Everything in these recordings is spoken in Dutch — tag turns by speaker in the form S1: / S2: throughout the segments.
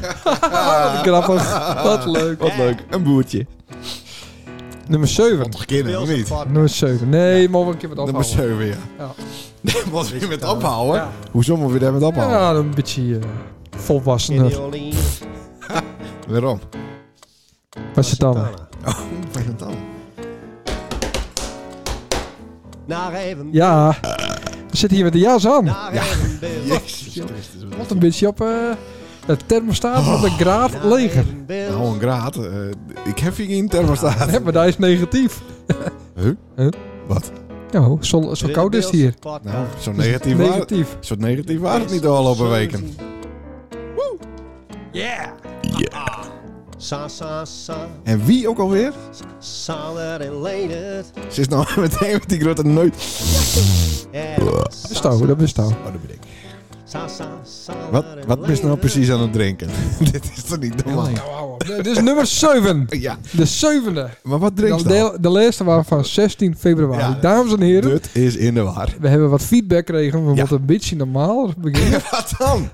S1: wat grappig. Wat leuk.
S2: Wat leuk. Een boertje.
S1: Nummer 7.
S2: Toch kinderen, of niet?
S1: Nummer 7. Nee, mogen we een keer wat
S2: Nummer
S1: afhouden.
S2: 7, ja.
S1: Ja.
S2: Wat weer met ophouden?
S1: Ja.
S2: Hoezo moet we daar met ophouden?
S1: Ja, een beetje eh volwassener
S3: Orleans.
S2: Waarom?
S1: was het dan.
S2: Oh, wat is het dan?
S3: Naar even.
S1: Ja, we zitten hier met de jas aan.
S3: Naar even beeld.
S2: Jezus Christus. wat-
S1: Wat een beetje op eh de thermostaat van
S2: Oh.
S1: de graaf
S3: Naar
S1: leger.
S3: even beeld.
S2: Nou, een graad. eh, ik heb hier geen thermostaat.
S1: Nee, maar daar is negatief.
S2: Huh?
S1: Huh?
S2: Wat?
S1: Ja, zo, zo koud is het hier.
S2: Nou, zo negatief, waar,
S1: Negatief.
S2: zo negatief waren het niet de afgelopen weken.
S3: Yeah. Sa, sa, sa.
S2: En wie ook alweer?
S3: Sander en Leendert.
S2: Ze is nou meteen met die grote neut.
S3: En
S1: Bestou, dat bestou.
S2: Oh, dat ben ik.
S3: Sa, sa, Sander
S2: Wat, wat
S3: en
S2: ben je nou
S3: Leendert.
S2: precies aan het drinken? Dit is toch niet normaal?
S1: Dit is nummer 7.
S2: Ja,
S1: De zevende.
S2: maar wat drink
S1: Dat
S2: je
S1: is
S2: dan?
S1: de, de laatste waren van 16 februari.
S2: Ja.
S1: Dames en heren,
S2: Dit is in de war.
S1: we hebben wat feedback gekregen. We
S2: Ja.
S1: moeten een beetje normaal beginnen.
S2: wat dan?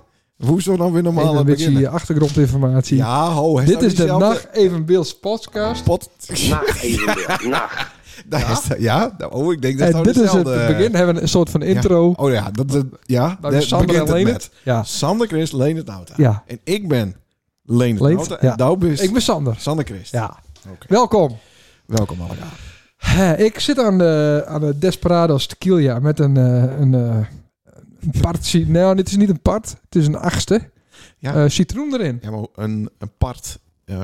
S2: Hoezo dan weer normaal
S1: Even
S2: aan
S1: een
S2: het
S1: beetje
S2: beginnen?
S1: achtergrondinformatie.
S2: Ja, ho. hij
S1: Dit
S2: staat
S1: is de
S2: diezelfde
S1: Nacht Even Beels podcast.
S2: Pot.
S4: Nacht evenbeeld. Nacht.
S2: Daar is de- ja, daar- oh, ik denk dat
S1: En
S2: nou
S1: dit is het
S2: dezelfde-
S1: begin. We hebben een soort van intro.
S2: Ja. Oh ja, dat, dat, ja
S1: Waar
S2: daar
S1: we Sander
S2: begint
S1: en
S2: het
S1: Leendert.
S2: met.
S1: Ja.
S2: Sander Christ, Leendert Nauta.
S1: Ja.
S2: En ik ben Leendert
S1: Leend,
S2: Nauta.
S1: ja.
S2: En jou bent
S1: Ik ben Sander.
S2: Sander Christ.
S1: Ja.
S2: Oké.
S1: Welkom.
S2: Welkom allemaal.
S1: Hè, Ik zit aan de, aan de Desperados Tequila met een, eh, een, eh, een partje. Nou, dit is niet een part. Het is een achtste.
S2: Ja.
S1: Eh, citroen erin.
S2: Ja, maar een, een part eh,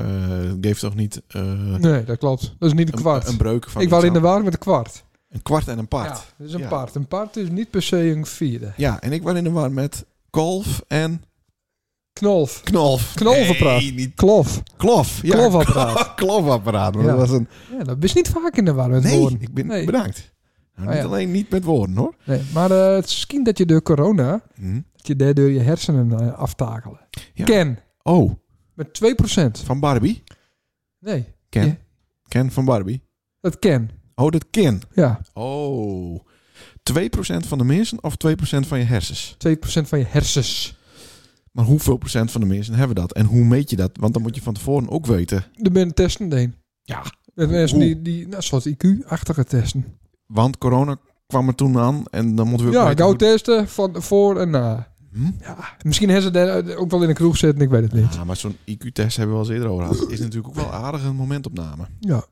S2: geeft toch niet eh,
S1: Nee, dat klopt. Dat is niet een kwart.
S2: een, een breuk van
S1: ik was
S2: iets
S1: in de
S2: aan-
S1: war met een kwart.
S2: Een kwart en een part.
S1: Ja, dat is een
S2: Ja.
S1: part. Een part is niet per se een vierde.
S2: Ja, en ik was in de war met kolf en
S1: Knolf.
S2: knolf.
S1: Knolvepraat.
S2: Nee, niet
S1: Klof.
S2: klof. Ja,
S1: Klofapparaat.
S2: klofapparaat. Maar
S1: Ja.
S2: dat was een...
S1: Ja, dat is niet vaak in de war met
S2: Nee,
S1: woorden.
S2: ik ben
S1: Nee.
S2: bedankt. Nou,
S1: Ah,
S2: niet
S1: ja.
S2: alleen niet met woorden hoor.
S1: Nee, maar eh, het is misschien dat je door corona,
S2: Hm.
S1: dat je daardoor je hersenen eh, aftakelen.
S2: Ja.
S1: Ken.
S2: Oh,
S1: Met 2%.
S2: van Barbie.
S1: Nee,
S2: Ken.
S1: Ja.
S2: Ken van Barbie.
S1: dat ken.
S2: Oh, dat ken.
S1: Ja,
S2: Oh. 2% van de mensen of 2% van je hersens?
S1: 2% van je hersens.
S2: Maar hoeveel procent van de mensen hebben dat? En hoe meet je dat? Want dan moet je van tevoren ook weten.
S1: De ben testen heen.
S2: Ja.
S1: Met mensen
S2: Hoe?
S1: die, die nou, soort IQ-achtige testen.
S2: Want corona kwam er toen aan en dan moeten we... ook
S1: Ja,
S2: weten
S1: gauw
S2: hoe-
S1: testen van voor en na.
S2: Hm?
S1: Ja, misschien hebben ze daar eh, ook wel in de kroeg zitten, ik weet het niet.
S2: Ja, maar zo'n IQ-test hebben we al eens eerder over gehad. Is natuurlijk ook wel aardig een momentopname.
S1: Ja,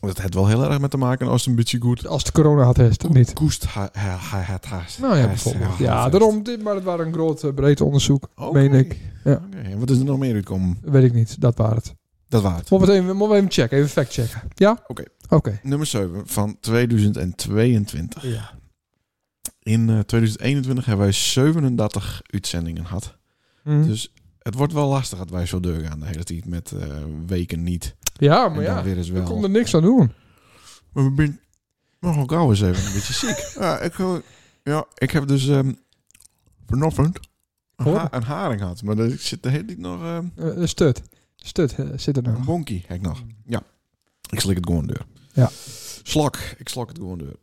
S2: Want het heeft wel heel erg met te maken als het een beetje goed...
S1: als de corona had testen, niet.
S2: Koest ha- ha- ha- het haast.
S1: Nou ja,
S2: Haast,
S1: bijvoorbeeld.
S2: ja,
S1: Ja,
S2: haast.
S1: daarom, dit, maar het waren een groot, eh, breed onderzoek,
S2: Oké.
S1: meen ik. Ja.
S2: Oké, en wat is er nog meer uitkomen?
S1: Weet ik niet, dat waren het.
S2: Dat waard.
S1: Moeten we het even, moeten we even checken, even fact checken. Ja?
S2: Oké.
S1: Oké.
S2: Nummer 7 van 2022.
S1: Ja.
S2: In eh, 2021 hebben wij 37 uitzendingen gehad.
S1: Mhm.
S2: Dus het wordt wel lastig dat wij zo deur gaan de hele tijd met eh, weken niet.
S1: ja,
S2: en
S1: maar
S2: dan
S1: Oh, ja,
S2: weer eens
S1: ik
S2: wel.
S1: kon er niks aan doen.
S2: Maar we zijn nogal gauw eens even een beetje ziek. Ja, ik, eh, ja, ik heb dus ehm vanochtend een,
S1: Hoor.
S2: ha- een haring gehad. Maar dat- ik zit de hele tijd nog... ehm,
S1: Eh, eh, stut. Stut eh, zit er nou.
S2: Een bonkie heb ik nog. Ja. Ik slik het gewoon deur.
S1: Ja.
S2: Slok. Ik slok het gewoon deur.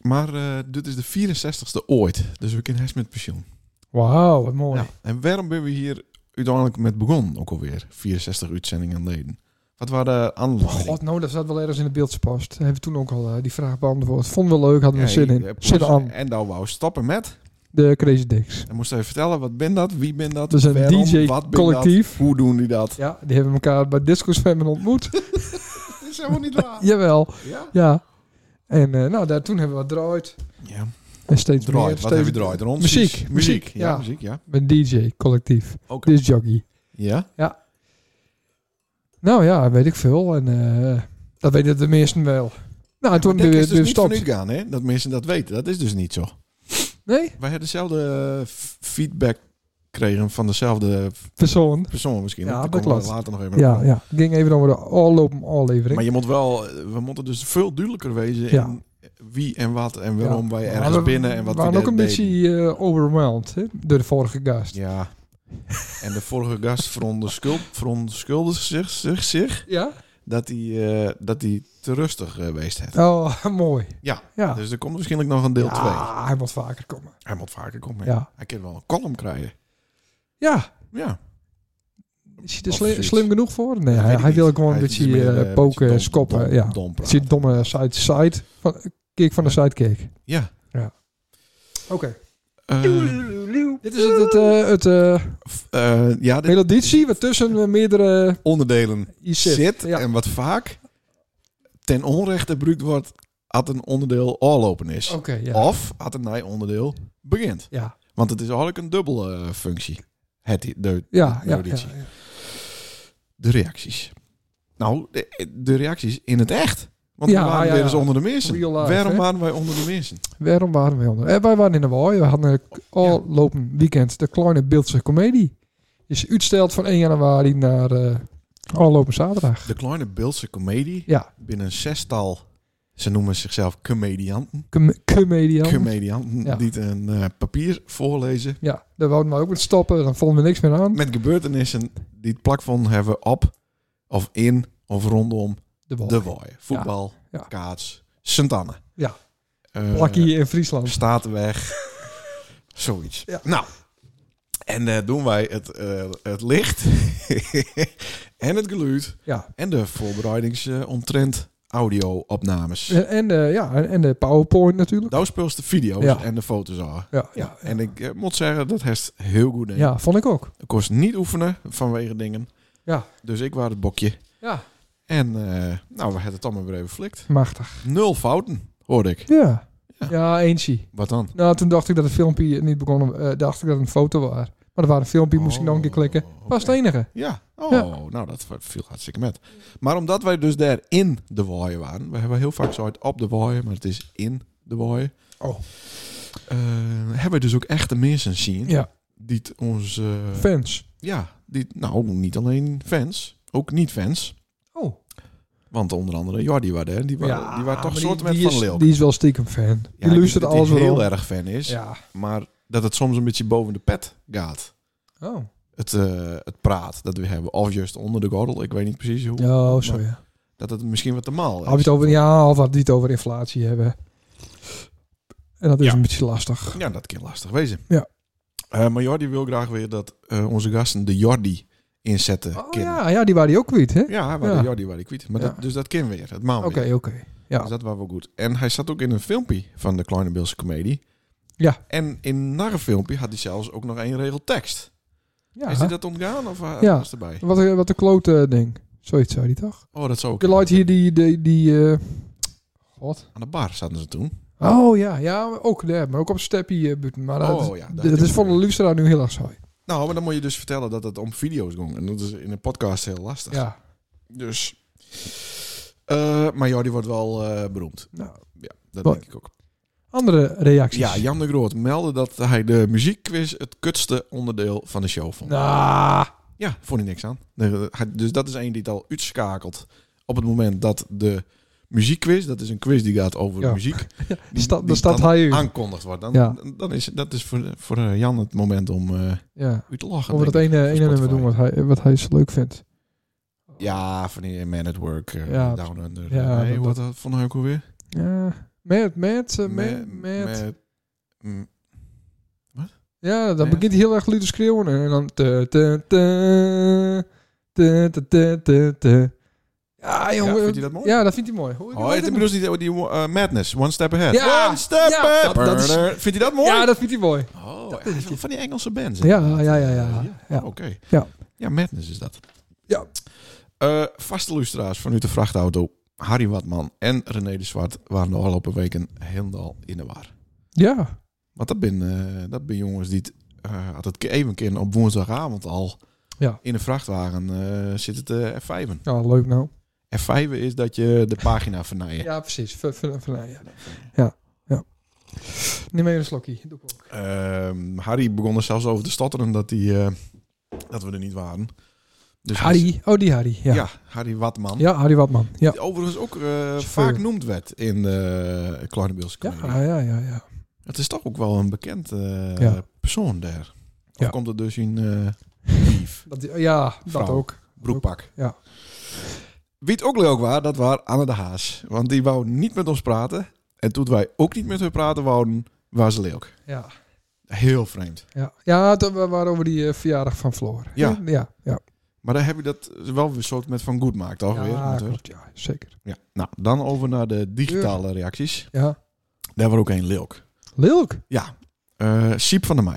S2: Maar eh, dit is de 64ste ooit. Dus we kunnen hest met pensioen.
S1: Wauw, wat mooi.
S2: Ja. En waarom ben we hier uiteindelijk met begonnen ook alweer? 64 uitzendingen leden. Wat waren de aanleidingen?
S1: God, nou, dat zat wel ergens in de beeldspost. Hebben we toen ook al eh, die vraag beantwoord. Vonden we leuk, hadden we zin in.
S2: eh,
S1: zin aan.
S2: En daar wou stoppen met.
S1: De Crazy Dicks.
S2: Dan moest even vertellen, wat ben dat? Wie ben dat?
S1: Dat is een
S2: Waarom?
S1: DJ
S2: Wat ben
S1: collectief.
S2: dat? Hoe doen die dat?
S1: Ja, die hebben elkaar bij Disco Zwemmen ontmoet.
S2: Dat is helemaal niet waar.
S1: Jawel,
S2: ja.
S1: ja. En eh, nou, daar, toen hebben we wat draaid.
S2: ja.
S1: En steeds meer.
S2: Draait. Wat
S1: steeds
S2: hebben we draait? Rond?
S1: Muziek,
S2: Muziek.
S1: muziek,
S2: Ja,
S1: ja.
S2: muziek, ja.
S1: Met DJ, collectief.
S2: Oké.
S1: Disc jockey.
S2: Ja.
S1: Nou ja, weet ik veel. En eh, dat weten de meesten wel. Nou, en toen
S2: dat
S1: hebben we
S2: is dus
S1: weer
S2: niet van
S1: stopt.
S2: u gaan, hè? Dat mensen dat weten. Dat is dus niet zo.
S1: Nee,
S2: Wij hebben dezelfde eh, f- feedback gekregen van dezelfde
S1: persoon.
S2: persoon misschien.
S1: Ja,
S2: Daar
S1: dat
S2: komen we
S1: klopt.
S2: later nog even op
S1: Ja,
S2: terug.
S1: ja. Het ging even over de all-open all-levering.
S2: Maar je moet wel... eh, We moeten dus veel duidelijker wezen
S1: Ja.
S2: in wie en wat en waarom wij
S1: Maar
S2: ergens
S1: we-
S2: binnen en wat
S1: We waren ook
S2: daar
S1: een
S2: deden.
S1: beetje eh, overwhelmed hè, door de vorige gast. Ja?
S2: Ja. en de vorige gast veronderschuld- verontschuldigde zich, zich, zich dat hij eh, dat hij te rustig eh, geweest heeft.
S1: Oh, mooi.
S2: Ja.
S1: ja.
S2: Dus er komt waarschijnlijk nog een deel 2.
S1: Ja, hij moet vaker komen.
S2: Hij moet vaker komen. hè.
S1: Ja.
S2: Hij kan wel een column krijgen.
S1: Ja,
S2: Ja.
S1: Is hij er
S2: Of
S1: sli-
S2: zoiets.
S1: slim genoeg voor? Nee,
S2: Dat
S1: hij,
S2: weet ik
S1: hij wil
S2: niet.
S1: gewoon een
S2: Hij
S1: beetje
S2: is meer,
S1: eh,
S2: eh, een
S1: poken,
S2: beetje dom-
S1: schoppen.
S2: dom-
S1: ja.
S2: dom
S1: Het zit
S2: praten.
S1: domme side side. Van, kick van de sidekick.
S2: Ja.
S1: Oké.
S2: Eh,
S1: Dit is het, het, eh, het eh,
S2: f- eh, ja, dit
S1: melodietje wat tussen eh, meerdere
S2: onderdelen
S1: je
S2: zit.
S1: zit. Ja.
S2: En wat vaak ten onrechte gebruikt wordt als een onderdeel aflopen is.
S1: Oké, Oh, ja.
S2: Of als een nieuw onderdeel begint.
S1: Ja.
S2: Want het is eigenlijk een dubbele eh, functie. Het, de, de
S1: Ja, ja, ja,
S2: melodietje. De reacties. Nou, de, de reacties in het echt. Want
S1: Ja,
S2: we waren
S1: ja,
S2: weer
S1: ja.
S2: eens onder de mensen.
S1: Real life,
S2: Waarom
S1: hè?
S2: waren wij onder de mensen?
S1: Waarom waren we onder? Eh, wij waren in de Waai. We hadden een al lopen weekend de kleine Beeldse Comedie. Is uitsteld van 1 januari naar eh al lopen zaterdag.
S2: De kleine Beeldse comedie.
S1: Ja.
S2: Binnen een zestal, ze noemen zichzelf comedianten.
S1: Com- Comedian.
S2: Comedianten
S1: Ja.
S2: die een eh, papier voorlezen.
S1: ja, daar wouden we ook met stoppen. Dan vonden we niks meer aan.
S2: Met gebeurtenissen die het plak van hebben op of in of rondom
S1: De Waai.
S2: de Waai. Voetbal,
S1: Ja.
S2: kaats, Sint-Anne.
S1: Ja.
S2: Eh,
S1: Plakkie in Friesland.
S2: Statenweg. Zoiets.
S1: Ja.
S2: Nou, en eh, doen wij het, eh, het licht en het geluid
S1: Ja.
S2: en de voorbereidings eh, omtrent audio-opnames.
S1: En, en de, ja, en- en de PowerPoint natuurlijk.
S2: Daar speelst de video's
S1: Ja.
S2: en de foto's aan.
S1: Ja, ja, ja.
S2: En ik eh, moet zeggen, dat heeft heel goed in.
S1: ja, vond ik ook.
S2: Ik kost niet oefenen vanwege dingen.
S1: Ja.
S2: Dus ik was het bokje.
S1: Ja.
S2: En eh, nou, we hebben het allemaal weer even flikt.
S1: Machtig.
S2: Nul fouten, hoorde ik.
S1: Ja.
S2: Ja.
S1: Ja, eentje.
S2: Wat dan?
S1: Nou, toen dacht ik dat het filmpje niet begon. om- eh, dacht ik dat het een foto was. Maar er waren een filmpje, moest ik nog een keer klikken.
S2: Oh,
S1: Was
S2: oké.
S1: het enige.
S2: Ja, oh,
S1: Ja.
S2: nou dat viel hartstikke met. Maar omdat wij dus daar in de waaien waren, we hebben heel vaak zoiets op de waaien, maar het is in de waaien.
S1: Oh.
S2: Eh, hebben we dus ook echte mensen zien
S1: Ja.
S2: die het ons, eh,
S1: Fans.
S2: ja, die, nou niet alleen fans, ook niet fans,
S1: Oh.
S2: want onder andere Jordi waren er, die waren, die waren toch
S1: maar
S2: soort met
S1: die
S2: van
S1: is-
S2: Leeuw.
S1: Die is wel stiekem fan.
S2: Ja,
S1: die
S2: ik
S1: luistert
S2: denk dat
S1: alles
S2: hij
S1: wel.
S2: heel
S1: op.
S2: erg fan is,
S1: Ja.
S2: maar dat het soms een beetje boven de pet gaat.
S1: Oh.
S2: Het, eh, het praat dat we hebben, of juist onder de gordel, ik weet niet precies hoe.
S1: Ja, oh, sorry. ja.
S2: Dat het misschien wat te maal is.
S1: Had je het over, ja, of had die het over inflatie hebben. En dat is
S2: Ja.
S1: een beetje lastig.
S2: Ja, dat kan lastig wezen.
S1: Ja.
S2: Eh, maar Jordi wil graag weer dat eh, onze gasten de Jordi inzetten.
S1: Oh
S2: kunnen.
S1: ja, ja, die waren die ook kwijt, hè?
S2: Ja, waar
S1: Ja.
S2: de Jordi waar ik kwijt. Maar
S1: Ja.
S2: dat, dus dat kan weer. Dat maal
S1: Oké,
S2: weer.
S1: oké. Ja.
S2: Dus dat was wel goed. En hij zat ook in een filmpje van de Kleine Beelse Comedie.
S1: Ja.
S2: En in naar een filmpje had hij zelfs ook nog één regel tekst.
S1: ja.
S2: Is hij dat ontgaan of eh,
S1: Ja.
S2: was erbij?
S1: Wat, een- wat een klote ding. Zoiets zei die toch?
S2: Oh, dat zou ook.
S1: De light hier die... die, die eh, God.
S2: Aan de bar zaten ze toen.
S1: Oh ja, ja maar ook daar. Maar ook op Steppie eh, buiten. Maar dat,
S2: Oh, ja,
S1: dat,
S2: daar
S1: is voor de luisteraar nu heel erg saai.
S2: Nou, maar dan moet je dus vertellen dat het om video's ging. En dat is in een podcast heel lastig.
S1: Ja.
S2: Dus. eh, maar Jordi wordt wel eh, beroemd.
S1: Nou,
S2: Ja, dat
S1: Mooi.
S2: denk ik ook.
S1: andere reacties.
S2: Ja, Jan de Groot meldde dat hij de muziekquiz het kutste onderdeel van de show vond.
S1: Nou,
S2: Ja, vond hij niks aan. Nee, hij- Dus dat is één die het al uitschakelt op het moment dat de muziekquiz, dat is een quiz die gaat over
S1: Ja.
S2: muziek,
S1: die staat-
S2: die
S1: daar staat
S2: dan
S1: hij uit.
S2: aankondigd wordt. Dan,
S1: Ja.
S2: dan is, dat is voor, voor eh, Jan het moment om eh
S1: Ja.
S2: u te lachen.
S1: Over dat
S2: denk ik,
S1: ene,
S2: voor
S1: ene nummer
S2: Spotify.
S1: doen wat hij, wat hij zo leuk vindt.
S2: Ja, van die Man at Work, eh,
S1: Ja,
S2: Down Under.
S1: ja,
S2: nee,
S1: dat-
S2: hoe had dat vond hij ook alweer?
S1: Ja. Met, met, eh,
S2: Ma-
S1: met, met.
S2: met- mm,
S1: Ja, dan
S2: Met.
S1: begint hij heel erg luid te schreeuwen. En dan... te, te, te, te, te, te, te, te. Ja,
S2: ja,
S1: jongen.
S2: vindt hij dat mooi?
S1: Ja, dat vindt hij mooi. Hoe,
S2: Oh,
S1: weet
S2: het
S1: het
S2: bedoelt die, die eh, Madness, One Step Ahead.
S1: Ja,
S2: One Step
S1: ja,
S2: Ahead.
S1: dat- dat is-
S2: Vindt hij dat
S1: niet.
S2: mooi?
S1: Ja, dat vindt hij mooi.
S2: oh, ja, van die Engelse bands.
S1: Ja,
S2: inderdaad.
S1: ja, ja, ja.
S2: Eh,
S1: Ja.
S2: Oké.
S1: Ja.
S2: ja, Madness is dat.
S1: Ja.
S2: Eh, vaste luisteraars vanuit de vrachtauto, Harry Watman en René de Zwart waren de afgelopen weken helemaal in de war.
S1: Ja.
S2: Want dat ben, eh, dat ben jongens die het, eh, had het even een keer op woensdagavond al
S1: Ja.
S2: in een vrachtwagen eh zitten te F5'en.
S1: Ja, leuk nou.
S2: F5'en is dat je de pagina vernijdt.
S1: Ja, precies. Ver- ver- ver- ja. ja, ja. Neem even een slokje. Doe ik ook.
S2: Ehm, Harry begon er zelfs over te stotteren dat, hij, eh, dat we er niet waren. Dus
S1: Harry. Oh, die Harry.
S2: Ja.
S1: Ja, ja.
S2: Harry Watman.
S1: Harry Watman. Ja.
S2: Die overigens ook eh,
S1: Chauffeur.
S2: vaak noemd werd in de Kleine Beelse
S1: Ja,
S2: Comedie.
S1: ja, ja, ja.
S2: Het is toch ook wel een bekend eh,
S1: Ja.
S2: persoon daar. Of
S1: Ja.
S2: komt het dus in eh lief,
S1: Dat, ja, dat
S2: Vrouw.
S1: ook.
S2: broekpak.
S1: Ja.
S2: Wie het ook leuk was, dat was Anne de Haas. Want die wou niet met ons praten. En toen wij ook niet met haar praten wouden, was ze leuk.
S1: Ja,
S2: Heel vreemd.
S1: ja. ja het, we waren over die eh, verjaardag van Floor.
S2: Ja.
S1: Ja, ja.
S2: Maar daar heb je dat wel weer soort met van goed maakt, toch? Oh, weer,
S1: ja,
S2: natuurlijk.
S1: klopt, ja, zeker.
S2: ja. Nou, dan over naar de digitale reacties.
S1: Ja.
S2: Daar was ook een Lilk.
S1: Leuk.
S2: Ja, eh, Siep van der Mei.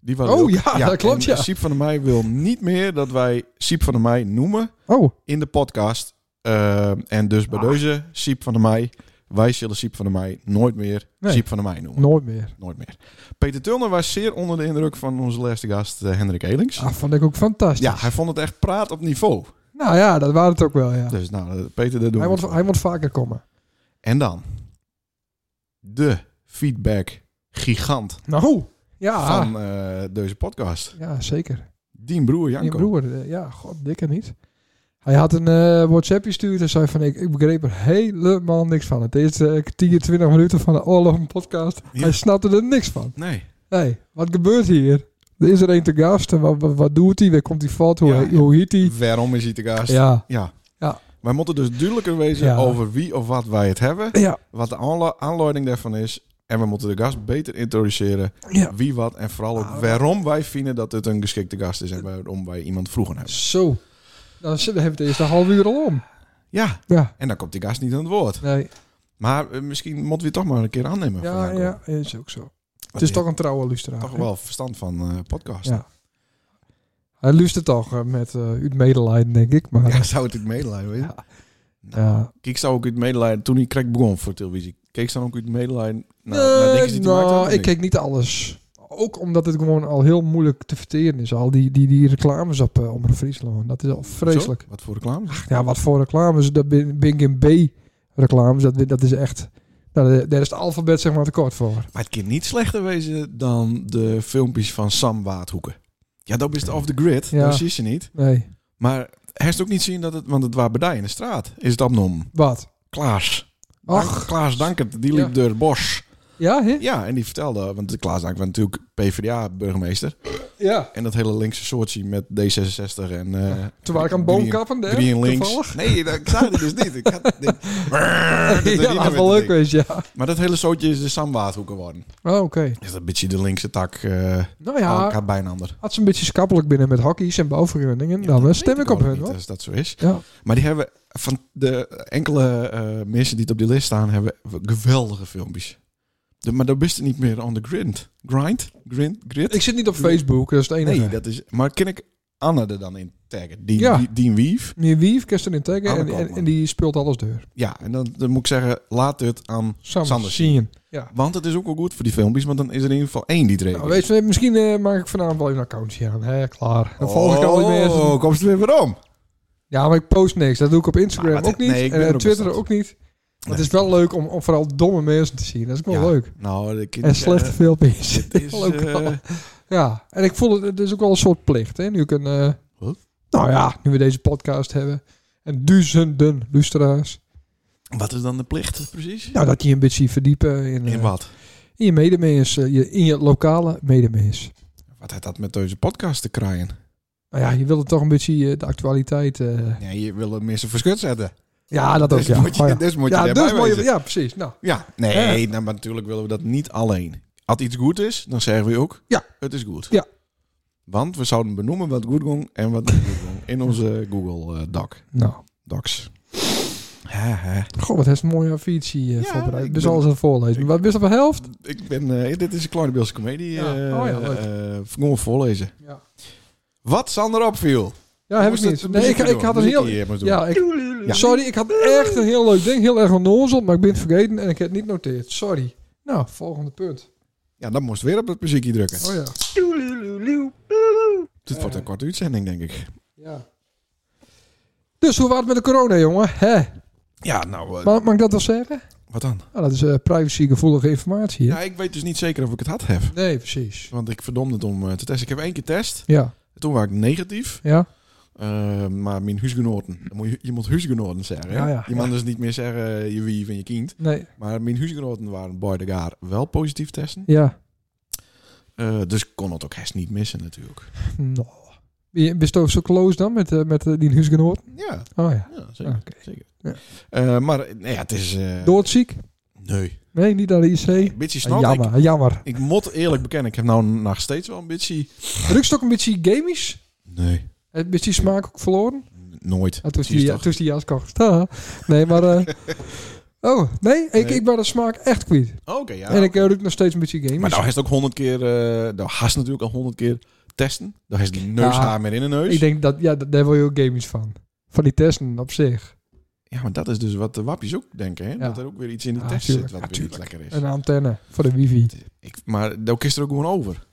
S2: Die was
S1: Oh
S2: Lilk.
S1: ja, dat klopt,
S2: en
S1: ja.
S2: Siep van der Mei wil niet meer dat wij Siep van der Mei noemen
S1: Oh,
S2: in de podcast. Eh, en dus
S1: Ah.
S2: bij deze Siep van der Mei, wij zullen Siep van der Mei nooit meer
S1: Nee.
S2: Siep van der Mei noemen.
S1: nooit meer.
S2: Nooit meer. Peter Tulner was zeer onder de indruk van onze laatste gast eh, Hendrik Elings.
S1: Ah, vond ik ook fantastisch.
S2: Ja, hij vond het echt praat op niveau.
S1: Nou ja, dat waren het ook wel, ja.
S2: Dus nou, eh, Peter, dat doen
S1: Hij
S2: we.
S1: moet, hij moet vaker komen.
S2: En dan de feedback gigant
S1: Nou, ja.
S2: van eh, deze podcast.
S1: Ja, zeker.
S2: Dien broer Janko.
S1: Mijn broer, eh, ja, god, dikke niet. Hij had een eh WhatsAppje gestuurd en zei van ik, ik begreep er helemaal niks van. Het is eh 10, 20 minuten van de Oorlog podcast.
S2: Ja.
S1: Hij snapte er niks van.
S2: Nee.
S1: Nee, wat gebeurt hier? Er is er een te gast en wat, wat, wat doet hij? Waar komt hij valt? Hoe,
S2: Ja, ja.
S1: hoe heet hij?
S2: Waarom is hij te gast?
S1: Ja,
S2: Ja.
S1: Ja.
S2: Wij moeten dus duidelijker wezen
S1: Ja.
S2: over wie of wat wij het hebben.
S1: ja,
S2: Wat de aanla- aanleiding daarvan is. En we moeten de gast beter introduceren.
S1: ja.
S2: Wie wat en vooral ook
S1: Ah.
S2: waarom wij vinden dat het een geschikte gast is. En waarom wij iemand vroegen hebben.
S1: Zo. Dan zitten we het eerst een half uur al om.
S2: Ja.
S1: Ja,
S2: En dan komt die gast niet aan het woord.
S1: nee.
S2: Maar eh, misschien moeten we het toch maar een keer aannemen. van
S1: Ja,
S2: Janko.
S1: ja, is ook zo. Het
S2: Want
S1: is
S2: die
S1: toch een trouwe luisteraar.
S2: heeft
S1: hè?
S2: toch wel verstand van eh podcast.
S1: Ja. Hij luistert toch eh, met eh uit medelijden, denk ik. Maar
S2: Ja, zou het uit medelijden, weet je?
S1: Ja. ja.
S2: Ik zou ook uit medelijden, toen ik krek begon voor televisie, keek ze dan ook uit medelijden naar, naar
S1: Nee,
S2: dingen die te maken
S1: nou,
S2: hadden?
S1: ik keek niet alles. Ook omdat het gewoon al heel moeilijk te verteren is. Al die, die, die reclames op eh Omroep Friesland. Dat is al vreselijk.
S2: Zo? Wat voor reclame? Ach,
S1: Ja, wat voor reclames. Dat bin bin ik in B-reclames. Dat, dat is echt... Nou, daar is het alfabet zeg maar te kort voor.
S2: Maar het kan niet slechter wezen dan de filmpjes van Sam Waardhoeken. Ja, dat is het off the grid,
S1: Ja.
S2: dat zie je ze niet.
S1: Nee.
S2: Maar hij heeft ook niet zien dat het, want het waren bij die in de straat, is het abnorm.
S1: Wat?
S2: Klaas.
S1: Ach.
S2: Dank- Klaas Dankert, die liep
S1: Ja.
S2: door het bos.
S1: Ja, hè?
S2: Ja, en die vertelde, want de Klaas Dankert was natuurlijk PvdA-burgemeester.
S1: Ja.
S2: En dat hele linkse soortje met D66 en... eh,
S1: Toen waren ik aan
S2: Green-
S1: boomkappen, hè?
S2: Drie in links.
S1: Toevallig.
S2: Nee, dat ik zag dit dus niet. Ik had dit- dit er niet
S1: Ja,
S2: meer
S1: dat
S2: met
S1: wel
S2: te
S1: leuk
S2: denken.
S1: wees, ja.
S2: Maar dat hele zootje is de Samwaardhoek geworden.
S1: Oh, oké.
S2: Is dat een beetje de linkse tak. eh ja.
S1: Nou ja,
S2: Elkaar bijna ander.
S1: had ze een beetje schappelijk binnen met hockey's en bouwvergunningen.
S2: Ja,
S1: dan eh,
S2: dat
S1: stem
S2: weet
S1: ik op
S2: ook
S1: hun,
S2: niet,
S1: hoor.
S2: Als dat zo is.
S1: Ja.
S2: Maar die hebben van de enkele eh, mensen die het op die lijst staan, hebben geweldige filmpjes. De, maar dat best niet meer on the grind. Grind? Grind? Grid?
S1: Ik zit niet op Facebook, dat is het enige.
S2: nee, dat is. Maar ken ik Anne er dan in taggen? Die,
S1: Ja.
S2: die, die Wief.
S1: Meneer Wief, Kirsten in Teggen,
S2: Anne
S1: en, en,
S2: Koopman.
S1: en die speelt alles deur.
S2: Ja, en dan, dan moet ik zeggen, laat het aan
S1: Samen
S2: Sander
S1: zien. Ja.
S2: Want het is ook wel goed voor die filmpjes, want dan is er in ieder geval één die het
S1: Nou,
S2: regelt.
S1: weet je, misschien eh, maak ik vanavond wel even een accountje aan. Hè, klaar. Dan volg ik al die mensen.
S2: Oh, kom ze weer weer om.
S1: Ja, maar ik post niks. Dat doe ik op Instagram
S2: Ah, Maar wat-
S1: ook niet.
S2: nee, ik ben
S1: en
S2: er
S1: eh,
S2: ook
S1: Twitter
S2: bestand.
S1: ook niet. Maar Het is wel leuk om, om vooral domme mensen te zien. Dat is ook wel
S2: Ja.
S1: leuk.
S2: Nou, de
S1: En slechte filmpjes.
S2: Het is,
S1: Wel ook
S2: eh,
S1: wel. Ja, en ik voel het, het is ook wel een soort plicht. Hè? Nu ik een, eh,
S2: Wat?
S1: nou ja, nu we deze podcast hebben. En duizenden luisteraars.
S2: wat is dan de plicht precies?
S1: Nou, dat je een beetje verdiepen in, eh,
S2: In wat?
S1: in je medemens. eh, je, in je lokale medemens.
S2: Wat heeft dat met deze podcast te krijgen?
S1: Nou ja, je wilde toch een beetje eh, de actualiteit. eh,
S2: Nee, je wil hem mensen verschut zetten.
S1: ja, dat ook.
S2: dus
S1: ja.
S2: moet je,
S1: Oh ja.
S2: dus moet je
S1: ja,
S2: daarbij
S1: dus moet je-
S2: wezen.
S1: ja, precies. Nou,
S2: Ja, nee, nou, maar natuurlijk willen we dat niet alleen. Als iets goed is, dan zeggen we ook,
S1: Ja.
S2: het is goed.
S1: Ja.
S2: Want we zouden benoemen wat goed ging en wat niet goed ging in onze Google eh, Doc.
S1: nou.
S2: Docs. Hè, hè.
S1: Goh, wat heeft een mooie affitie eh
S2: Ja,
S1: voorbereid.
S2: ik
S1: Dus
S2: ben-
S1: alles aan het voorlezen.
S2: ik-
S1: Wat wist op de helft?
S2: Ik ben, eh, dit is een kleine Beelse comedie.
S1: Ja.
S2: eh,
S1: Oh ja, leuk.
S2: eh, gewoon voorlezen.
S1: Ja.
S2: Wat Sander opviel.
S1: Ja, heb ik niet. Nee, ik, ik had een heel...
S2: Ja.
S1: Ja, ik, sorry, ik had echt een heel leuk ding. Heel erg onnozel, maar ik ben het vergeten en ik heb het niet noteerd. Sorry. Nou, volgende punt.
S2: ja, dan moest weer op dat muziekje drukken.
S1: Oh ja.
S2: Dit wordt een korte uitzending, denk ik.
S1: ja. Dus hoe was het met de corona, jongen? Hè?
S2: Ja, nou, eh,
S1: Mag, mag ik dat wel zeggen?
S2: wat dan?
S1: Nou, dat is eh, privacygevoelige informatie. hè?
S2: Ja, ik weet dus niet zeker of ik het had heb.
S1: Nee, precies.
S2: Want ik verdomde het om eh, te testen. Ik heb één keer test.
S1: Ja,
S2: Toen was ik negatief.
S1: ja.
S2: Eh, maar mijn huisgenoten. dan moet Je, je moet huisgenoten zeggen. hè?
S1: Ja, ja,
S2: je mag dus niet meer zeggen eh, je wief en je kind.
S1: Nee,
S2: Maar mijn huisgenoten waren bij de gaar wel positief testen.
S1: ja.
S2: Eh, dus kon het ook hest niet missen natuurlijk.
S1: Nou. Ben je ook zo close dan met, eh, met eh, die huisgenoot?
S2: Ja,
S1: Oh ja.
S2: ja zeker.
S1: Oké.
S2: zeker.
S1: Ja.
S2: Eh, maar eh, nou ja, het is... eh,
S1: Doodziek?
S2: nee.
S1: Nee, niet aan de IC.
S2: Een beetje snel. Ik,
S1: Jammer, ah, jammer.
S2: ik moet eerlijk bekennen, ik heb nou nog steeds wel een beetje...
S1: Rukt het ook een beetje gamisch?
S2: Nee.
S1: Heb je die smaak ook verloren?
S2: Nooit.
S1: Ah, toen is
S2: Zie je
S1: die,
S2: toch?
S1: toen is die jas kocht. Ah, nee, maar... eh, oh, nee, ik,
S2: Nee.
S1: ik ben de smaak echt kwijt.
S2: Oké, ja.
S1: en ik eh, doe nog steeds een beetje games.
S2: Maar nou heeft ook honderd keer, eh nou haast natuurlijk al honderd keer testen. Dan heeft de neushaar meer in de neus.
S1: ik denk dat, ja, dat- daar wil je ook games van. Van die testen op zich.
S2: ja, maar dat is dus wat de wappies ook denken, hè? Dat er ook weer iets in die
S1: Ah,
S2: test
S1: tuurlijk,
S2: zit wat
S1: ah,
S2: weer niet
S1: tuurlijk.
S2: lekker is. Dus-
S1: Een antenne voor de wifi.
S2: Ik, maar daar kist er ook gewoon over.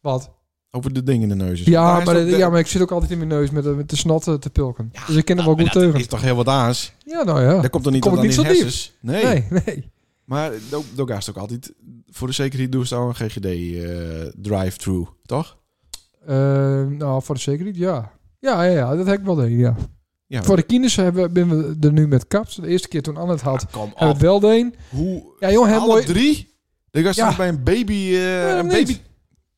S1: Wat?
S2: Over de dingen in de neus. Daar
S1: Ja
S2: Dus- Nou, is
S1: maar,
S2: toch
S1: dat-
S2: de-
S1: ja, maar ik zit ook altijd in mijn neus met, de- met de snotten te pulken. dus ik ken hem wel
S2: nou, Maar
S1: goed
S2: dat
S1: teugen.
S2: is toch heel wat aans?
S1: Ja, nou ja.
S2: Daar komt er niet
S1: Kom
S2: tot
S1: ik
S2: aan
S1: niet
S2: in
S1: zo diep.
S2: hersens. Nee.
S1: Nee, nee.
S2: Maar daar daar gaast ook altijd... Voor de zekerheid doe ze al een GGD eh, drive-thru, toch?
S1: Eh, nou, voor de zekerheid, ja. Ja, ja, ja, dat heb ik wel deed, ja.
S2: Ja.
S1: Voor de kines hebben ben we er nu met kaps. De eerste keer toen Anne het had,
S2: Kom
S1: hebben we
S2: op.
S1: het wel deen.
S2: Hoe...
S1: Ja, jongen,
S2: Oh. Alle
S1: heel mooi.
S2: drie? Dan gaast
S1: Ja.
S2: toch bij een baby... eh,
S1: Ja,
S2: een
S1: niet.
S2: baby...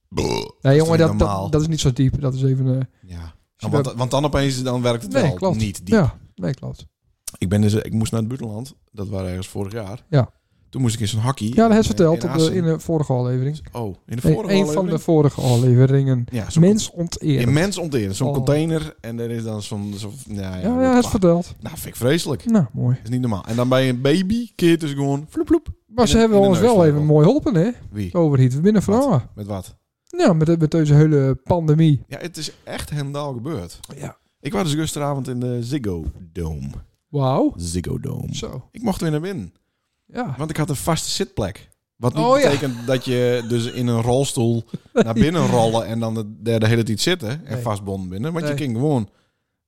S2: Bleh.
S1: Nee, jongen,
S2: niet
S1: dat,
S2: normaal?
S1: dat, dat is niet zo diep. Dat is even... eh,
S2: Ja.
S1: je
S2: Want,
S1: bent-
S2: want dan opeens dan werkt het
S1: Nee,
S2: wel
S1: klopt.
S2: niet diep.
S1: ja, nee, klopt.
S2: Ik, ben dus, ik moest naar het buitenland. Dat waren ergens vorig jaar.
S1: Ja.
S2: Toen moest ik in zo'n hockey.
S1: Ja, dat heeft
S2: in-
S1: verteld
S2: in
S1: op de, in
S2: Assen.
S1: de vorige aflevering.
S2: Oh, in de
S1: Nee,
S2: vorige
S1: een van de
S2: aflevering?
S1: vorige afleveringen.
S2: Ja, zo'n
S1: Mens onteerd. Ja,
S2: Immens onteerd. Zo'n
S1: Oh.
S2: container en er is dan zo'n... zo'n ja, ja,
S1: ja,
S2: wat
S1: hij heeft
S2: waar.
S1: verteld.
S2: Nou, vind ik vreselijk.
S1: Nou, mooi.
S2: Dat is niet normaal. En dan bij een baby keer dus gewoon vloep vloep.
S1: Maar ze
S2: In de-
S1: hebben
S2: in de
S1: ons wel
S2: neusvleugel.
S1: even mooi geholpen, hè?
S2: Wie?
S1: Overhiet. We binnen vrouwen.
S2: Met wat?
S1: Ja, met, met deze hele pandemie.
S2: Ja, het is echt hendaal gebeurd.
S1: Ja.
S2: Ik was dus gisteravond in de Ziggo Dome.
S1: Wauw.
S2: Ziggo Dome.
S1: Zo.
S2: Ik mocht weer naar binnen,
S1: Ja.
S2: want ik had een vaste zitplek. Wat niet
S1: Oh, ja.
S2: betekent dat je dus in een rolstoel naar binnen rollen en dan de, de, de hele tijd zitten en
S1: Nee.
S2: vastbonden binnen. Want je
S1: Nee.
S2: ging gewoon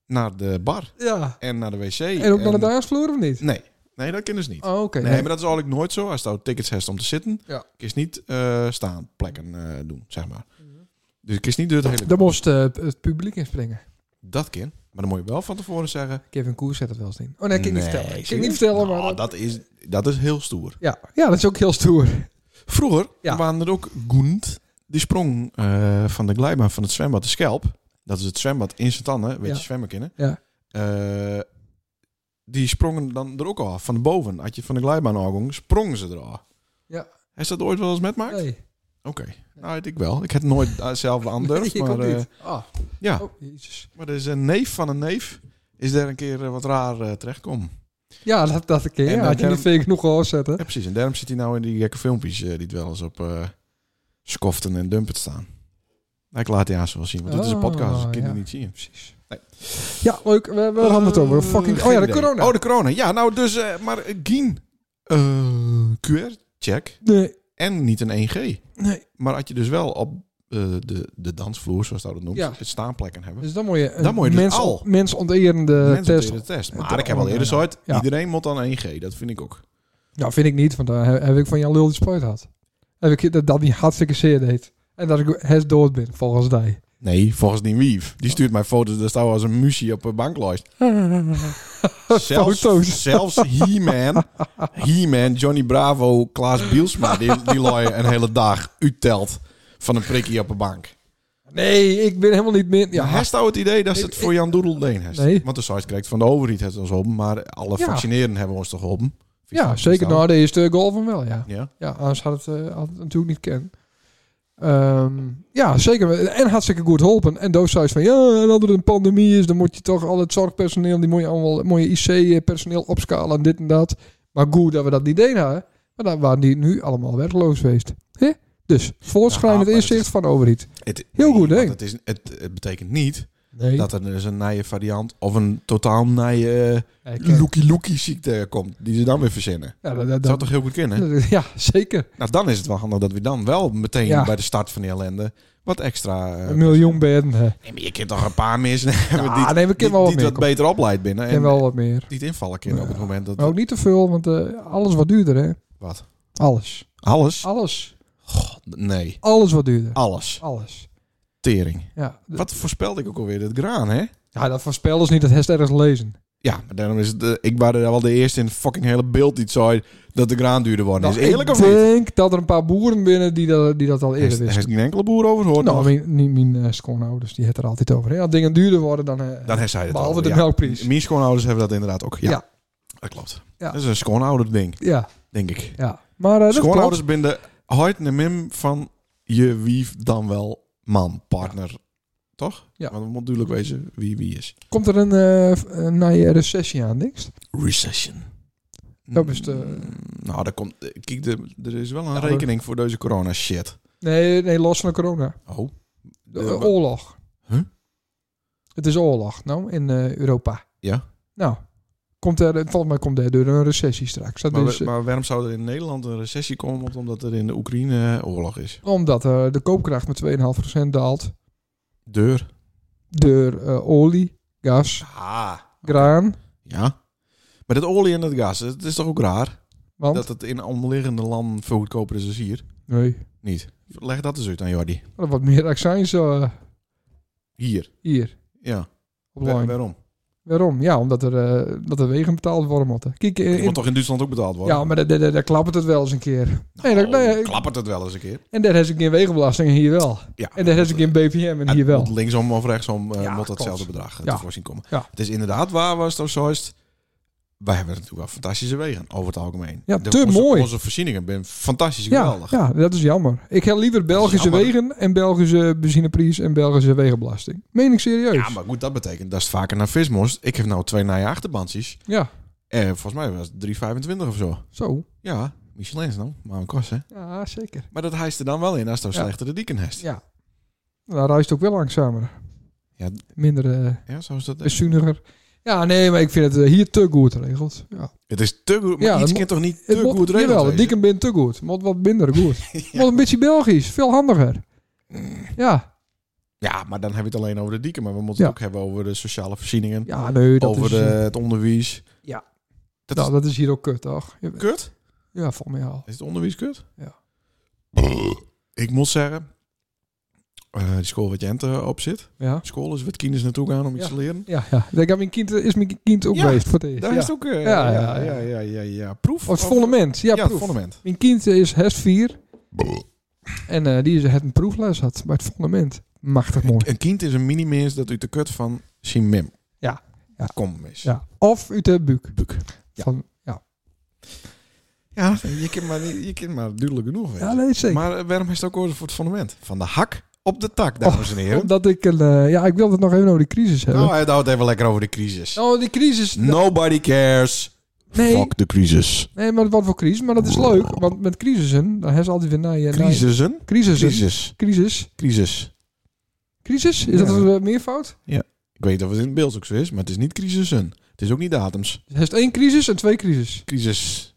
S2: naar de bar
S1: Ja.
S2: en naar de wc.
S1: En ook naar de dansvloer of niet?
S2: Nee, nee, dat kunnen ze niet.
S1: Oh, oké.
S2: Nee, maar dat is eigenlijk nooit zo. Als nou tickets hebt om te zitten,
S1: Ja.
S2: kies niet eh, staan plekken eh, doen, zeg maar.
S1: Mhm.
S2: Dus kies niet door het hele...
S1: Daar moest eh, het publiek in springen.
S2: Dat kan. Maar dan moet je wel van tevoren zeggen...
S1: Kevin Koers zet het wel eens in. Oh nee, kan ik niet vertellen. Kan ik niet
S2: serieus?
S1: vertellen, maar...
S2: Nou,
S1: dat-
S2: dat, is, dat is heel stoer.
S1: Ja. ja, dat is ook heel stoer.
S2: Vroeger
S1: Ja.
S2: waren er ook Goend. Die sprong eh, van de glijbaan van het zwembad de Schelp. Dat is het zwembad in Santanne, weet
S1: Ja.
S2: je zwemmen kennen.
S1: Ja.
S2: Eh, die sprongen dan er ook al af, van de boven. Had je van de glijbaan afging, sprongen ze er al.
S1: Ja.
S2: Is dat ooit wel eens metmaakt?
S1: Nee,
S2: Oké. Nou, weet ik wel. Ik heb het nooit eh, zelf aandurfd.
S1: ik
S2: maar,
S1: ook
S2: eh,
S1: niet. Ah.
S2: ja.
S1: Oh, jezus.
S2: maar er is een neef van een neef. Is daar een keer eh, wat raar eh terechtkom.
S1: Ja, dat, dat ik.
S2: En
S1: Ja,
S2: dan
S1: had je niet
S2: daarom-
S1: veel genoeg gehoord zetten.
S2: Ja, precies. En daarom zit hij nou in die gekke filmpjes eh, die het wel eens op eh skoften en dumpen staan. Nou, Ik laat die aas wel zien, want dit is een podcast, dus ik kan
S1: Oh,
S2: die
S1: ja.
S2: niet zien.
S1: Precies.
S2: Nee.
S1: Ja, leuk. We, we hadden het over. Fucking...
S2: Eh,
S1: Oh ja, de
S2: geen idee.
S1: corona.
S2: Oh, de corona. Ja, nou dus, eh, maar eh, geen eh, QR-check
S1: Nee,
S2: en niet een 1G.
S1: nee.
S2: Maar had je dus wel op eh, de, de dansvloer, zoals dat het noemt,
S1: Ja.
S2: het staanplekken hebben.
S1: Dus dan moet je een
S2: Dan moet je dus
S1: mens,
S2: al.
S1: mensonterende
S2: Mensen
S1: test.
S2: deden de test.
S1: de
S2: Maar ik heb al eerder
S1: online.
S2: zoiets.
S1: Ja.
S2: Iedereen moet dan 1G. Dat vind ik ook.
S1: Nou, vind ik niet, want daar heb ik van Jan Lul die spuit gehad. Heb ik dat, dat die hartstikke zeer deed. En dat ik het dood ben, volgens die.
S2: Nee, volgens die wief. Die stuurt mij foto's. Daar staan we als een muzie op een banklijst. zelfs,
S1: Foto's.
S2: zelfs He-Man. He-Man, Johnny Bravo, Klaas Bielsma. Die, die looi een hele dag uittelt van een prikkie op een bank.
S1: Nee, ik ben helemaal niet min.
S2: Ja,
S1: Ja,
S2: heeft nou het idee dat ze
S1: Ik-
S2: het voor Jan Doedel deen heeft?
S1: Nee.
S2: Want de site krijgt van de overheid het ons op. Maar alle
S1: Ja.
S2: vaccineren hebben ons toch geholpen?
S1: ja zeker Nou, na de eerste goal van wel, ja.
S2: nou. Ja.
S1: Ja, anders had het, eh, had het natuurlijk niet ken. Ehm, ja, zeker. En hartstikke goed geholpen. En Doos zei van, ja, en als er een pandemie is, dan moet je toch al het zorgpersoneel, die moet je allemaal, mooie IC-personeel opschalen en dit en dat. Maar goed dat we dat niet deden, hè. Maar dan waren die nu allemaal werkloos geweest. Hè? Dus,
S2: Ja,
S1: voortschrijdend
S2: maar
S1: inzicht
S2: het is-
S1: van overheid.
S2: Het,
S1: Heel goed,
S2: want
S1: hè?
S2: Het, is, het, het betekent niet
S1: Nee.
S2: dat er dus een nieuwe variant of een totaal nieuwe
S1: Ja, ik, eh,
S2: lookie-lookie ziekte komt. Die ze dan weer verzinnen.
S1: ja, dat, dat-
S2: Dat zou toch heel goed kunnen?
S1: dat- ja, zeker.
S2: Nou, dan is het wel handig dat we dan wel meteen
S1: Ja.
S2: bij de start van die ellende wat extra... eh,
S1: Een miljoen bedden. hè.
S2: Nee, maar je kunt toch een paar mensen hebben
S1: Ja,
S2: die,
S1: nee,
S2: die,
S1: we kennen wel wat
S2: die
S1: meer.
S2: wat beter opleid binnen.
S1: En
S2: En
S1: wel wat meer.
S2: niet invallen kunnen op het moment dat...
S1: Maar ook niet te veel, want eh, alles wat duurder, hè.
S2: Wat?
S1: Alles.
S2: Alles?
S1: Alles.
S2: Nee.
S1: Alles wat duurder.
S2: Alles.
S1: Alles.
S2: Tering.
S1: Ja, d-
S2: Wat voorspelde ik ook alweer? Dat graan, hè?
S1: ja dat voorspelt ons niet, dat heeft ergens lezen.
S2: Ja, maar daarom is het... eh, ik was er wel de eerste in het fucking hele beeld die het zei dat de graan duurder worden.
S1: Nou,
S2: Is eerlijk
S1: ik
S2: of niet?
S1: denk dat er een paar boeren binnen die dat, die dat al
S2: Er is,
S1: eerder
S2: er is Oh,
S1: wisten.
S2: geen enkele boer over gehoord.
S1: Nou,
S2: nog.
S1: mijn, niet mijn eh, schoonouders, die het er altijd over. hè. Als dingen duurder worden, dan... eh,
S2: Dan heeft zij het
S1: Behalve
S2: al,
S1: de
S2: ja.
S1: melkprijs.
S2: Mijn schoonouders hebben dat inderdaad ook. Ja,
S1: Ja.
S2: dat klopt.
S1: Ja.
S2: Dat is een schoonouder ding,
S1: ja,
S2: denk ik.
S1: ja. Maar eh, dat klopt.
S2: Schoonouders binden hart en mim van je wief dan wel man, partner, toch?
S1: Ja.
S2: Want we moeten natuurlijk wezen wie wie is.
S1: Komt er een, eh een nieuwe recessie aan, niks?
S2: Recession.
S1: Dat is de-
S2: Nou, daar komt... Kijk, de- er is wel een
S1: Ja, maar-
S2: rekening voor deze corona-shit.
S1: Nee, nee, los van de corona.
S2: Oh.
S1: De,
S2: Eh,
S1: eh,
S2: wa-
S1: oorlog.
S2: Huh?
S1: Het is oorlog, nou, in eh, Europa.
S2: Ja.
S1: Nou, komt er, volgens mij komt er door een recessie straks. Dat
S2: Maar,
S1: is,
S2: we- maar waarom zou er in Nederland een recessie komen? Omdat er in de Oekraïne eh, oorlog is.
S1: eh, omdat eh, de koopkracht met 2,5% daalt.
S2: Deur.
S1: Door eh, olie, gas,
S2: Ah.
S1: graan.
S2: Ja. Maar dat olie en dat gas, het is toch ook raar?
S1: Want?
S2: Dat het in omliggende landen veel goedkoper is dan hier.
S1: Nee,
S2: Niet. Leg dat eens uit aan Jordi.
S1: er wat meer accijns eh,
S2: Hier.
S1: hier.
S2: Ja.
S1: Op
S2: Wa-
S1: lijn.
S2: waarom?
S1: Waarom? Ja, omdat er, eh, dat er wegen betaald worden moeten. Kijk, eh,
S2: Het
S1: in-
S2: moet toch in Duitsland ook betaald worden?
S1: ja, maar daar- daar daar- daar klappert het wel eens een keer.
S2: Nou,
S1: nee, dat- nee,
S2: klappert het wel eens een keer.
S1: En daar is een keer wegenbelasting en hier wel.
S2: Ja.
S1: En daar is een keer BPM en hier wel.
S2: Want linksom of rechtsom eh
S1: Ja,
S2: moet datzelfde
S1: klopt.
S2: bedrag eh,
S1: Ja.
S2: te voorzien komen.
S1: Ja.
S2: Het is inderdaad waar, was het zo is. Wij hebben natuurlijk wel fantastische wegen, over het algemeen.
S1: Ja,
S2: De-
S1: te
S2: onze,
S1: mooi.
S2: Onze voorzieningen zijn fantastisch
S1: Ja,
S2: geweldig.
S1: ja, dat is jammer. Ik heb liever Belgische
S2: jammer.
S1: wegen en Belgische benzineprijs en Belgische wegenbelasting. Meen ik serieus?
S2: Ja, maar goed, dat betekent dat het vaker naar vis moest. Ik heb nou twee naaie achterbandjes.
S1: Ja,
S2: En volgens mij was het 3,25 of zo.
S1: zo.
S2: Ja, Michelin's dan. Maar een kost, hè.
S1: Ja, zeker.
S2: Maar dat hijst er dan wel in als het
S1: Ja.
S2: slechtere dieken hest. Ja.
S1: Ja. Nou, dan ruist het ook wel langzamer.
S2: Ja.
S1: Minder eh,
S2: zo is dat. echt.
S1: bezuiniger. Ja, nee, maar ik vind het eh, hier te goed geregeld. Ja.
S2: Het is te goed, maar
S1: Ja, het
S2: iets
S1: mo-
S2: kan toch niet te
S1: Het moet-
S2: goed regelen?
S1: Jawel, het dikke bin te goed. Moet wat minder goed. Moet een beetje Belgisch. Veel handiger.
S2: Mm.
S1: Ja.
S2: Ja, maar dan heb je het alleen over de dieken. Maar we moeten het
S1: Ja.
S2: ook hebben over de sociale voorzieningen.
S1: Ja, nee, dat
S2: over
S1: is...
S2: de,
S1: eh,
S2: het onderwijs.
S1: Ja.
S2: Dat
S1: nou, dat is hier ook kut, toch?
S2: is kut.
S1: Ja, volgens mij al.
S2: Is het onderwijs kut? Eh,
S1: Ja.
S2: Ik moet zeggen, eh, die school wat Jent eh, op zit.
S1: Ja.
S2: School is wat kinders naartoe gaan om iets
S1: Ja.
S2: te leren.
S1: Ja, ja. Ik denk, mijn kind, is mijn kind ook
S2: Ja,
S1: geweest voor het eerst.
S2: Daar
S1: ja.
S2: is het ook... eh,
S1: Ja,
S2: ja,
S1: ja,
S2: ja, ja, ja, ja, Proef?
S1: Of het
S2: Of-
S1: volle mens. Ja,
S2: Ja,
S1: proef.
S2: het fundament.
S1: Mijn kind is hest 4. En eh, die is het een proefles had bij het fundament. Machtig mooi.
S2: Een kind is een mini-mens dat u de kut van zijn mem.
S1: Ja. Ja.
S2: Kom mis.
S1: Ja. Of uit de buik.
S2: Buik.
S1: Ja, Van, ja.
S2: Ja, je kan maar, niet- je kan maar duidelijk genoeg weten.
S1: ja nee, zeker.
S2: maar eh, waarom is het ook oorzaak voor het fundament? Van de hak op de tak, dames
S1: Oh,
S2: en heren.
S1: Omdat ik een... eh, ja, ik wilde het nog even over die crisis hebben.
S2: nou,
S1: Nou,
S2: hij houdt even lekker over de crisis.
S1: die crisis...
S2: Nobody cares.
S1: Oh, Nee.
S2: Fuck de crisis.
S1: Nee, maar wat voor crisis? Maar dat is leuk. Want met crisissen, dan hebben ze altijd weer... na je- na je-
S2: Crisissen?
S1: Crisissen.
S2: Crisis.
S1: nou Crisis.
S2: Crisis.
S1: Crisis? Is
S2: Ja.
S1: dat een eh, meervoud?
S2: Ik weet of het in het beeld ook zo is, maar het is niet crisissen. Het is ook niet datums.
S1: Dus heeft één crisis en twee crisis.
S2: Crisis.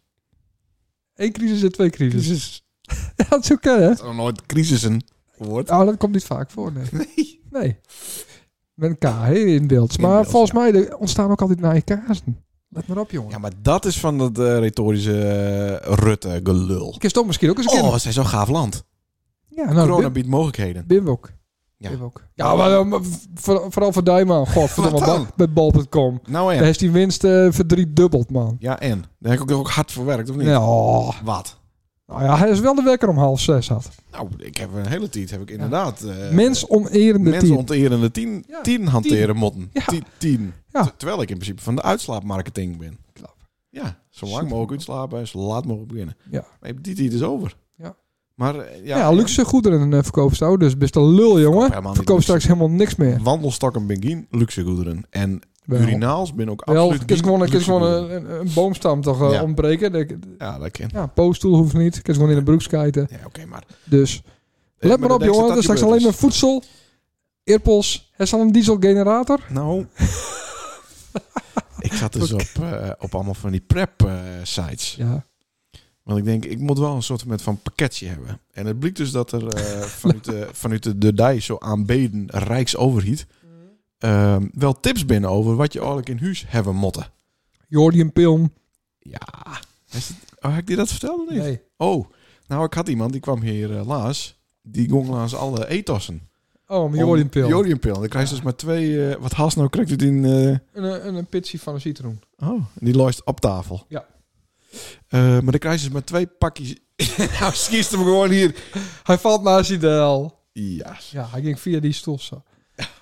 S1: Eén crisis en twee crisis.
S2: Crisis.
S1: Ja, dat is ook hè?
S2: Dat is nog nooit crisissen. Woord.
S1: Nou, dat komt niet vaak voor, nee.
S2: Nee.
S1: Nee. Met een K hè, in beeld.
S2: In
S1: Maar
S2: beeld,
S1: volgens mij er ontstaan ook altijd naaie kaarsen. Let maar op, jongen.
S2: Ja, maar dat is van dat eh, retorische eh, Rutte-gelul.
S1: Ik is toch misschien ook eens een
S2: Oh,
S1: keer...
S2: het is zo'n gaaf land.
S1: Ja, nou,
S2: Corona
S1: Bim-
S2: biedt mogelijkheden.
S1: Bim ook.
S2: Ja.
S1: Bim ook. Ja, maar, eh, maar voor- vooral voor Dijman.
S2: Wat
S1: Godverdomme,
S2: dan?
S1: bij bal.com.
S2: Nou
S1: Daar
S2: en?
S1: is die winst eh verdriedubbeld, man.
S2: Ja en? Daar heb ik ook, ook hard voor werkt, of niet?
S1: Ja, oh.
S2: Wat?
S1: Nou ja, hij is wel de wekker om half zes had.
S2: Nou, ik heb een hele tijd, heb ik inderdaad... eh,
S1: Mens onerende
S2: mensen
S1: team.
S2: onterende tien,
S1: Ja,
S2: tien hanteren motten.
S1: Ja.
S2: Tien. tien.
S1: Ja.
S2: Ter- Terwijl ik in principe van de uitslaapmarketing ben.
S1: Klap.
S2: Ja, zo lang
S1: Super.
S2: mogelijk uitslapen en zo laat mogelijk beginnen.
S1: Ja.
S2: Maar die tijd is over.
S1: Ja.
S2: Maar eh, ja...
S1: Ja, luxe goederen eh, verkoopt zo. Dus best een lul, jongen.
S2: helemaal niet
S1: Verkoopt straks
S2: luxe.
S1: helemaal niks meer.
S2: Wandelstokken ben geen luxe goederen. En
S1: Wel.
S2: urinaals ben ook
S1: Wel,
S2: nou, absoluut
S1: ik is
S2: geen
S1: gewoon, ik is
S2: luxe
S1: gewoon
S2: goederen.
S1: een, een, een boomstam toch eh,
S2: Ja.
S1: ontbreken. Ik-
S2: Ja, dat ken.
S1: Ja, een pootstoel hoeft niet. Ik is gewoon in de broek skijten.
S2: Ja, oké, maar...
S1: Dus
S2: Eh,
S1: let maar
S2: dan denk
S1: op,
S2: je
S1: jongen.
S2: dat
S1: Er is straks
S2: gebeurd
S1: alleen
S2: is.
S1: maar voedsel, earpods. Er is al een dieselgenerator.
S2: Nou. ik zat dus op, eh, op allemaal van die eh, prep-sites.
S1: Ja,
S2: Want ik denk, ik moet wel een soort met van pakketje hebben. En het bleek dus dat er eh, vanuit, de, vanuit de, de DAI, zo aanbeden Rijksoverheid,
S1: Mm.
S2: ehm, wel tips binnen over wat je eigenlijk in huis hebben motten.
S1: Jordium Pilm.
S2: Ja. Is het- oh, heb ik die dat verteld of niet?
S1: Nee.
S2: Oh, nou ik had iemand, die kwam hier eh, laatst. Die gong laatst alle etossen.
S1: Oh, een Jordium Pilm.
S2: Jodiumpil. Dan krijg je dus maar twee... eh, wat haast nou krijgt het in... eh,
S1: Een, een, een pitsie van een citroen.
S2: Oh, en die looist op tafel.
S1: Ja.
S2: Eh, maar dan krijg je dus maar twee pakjes. nou, schiet hem gewoon hier.
S1: Hij valt naast die del.
S2: Ja.
S1: Ja, hij ging via die stoel zo.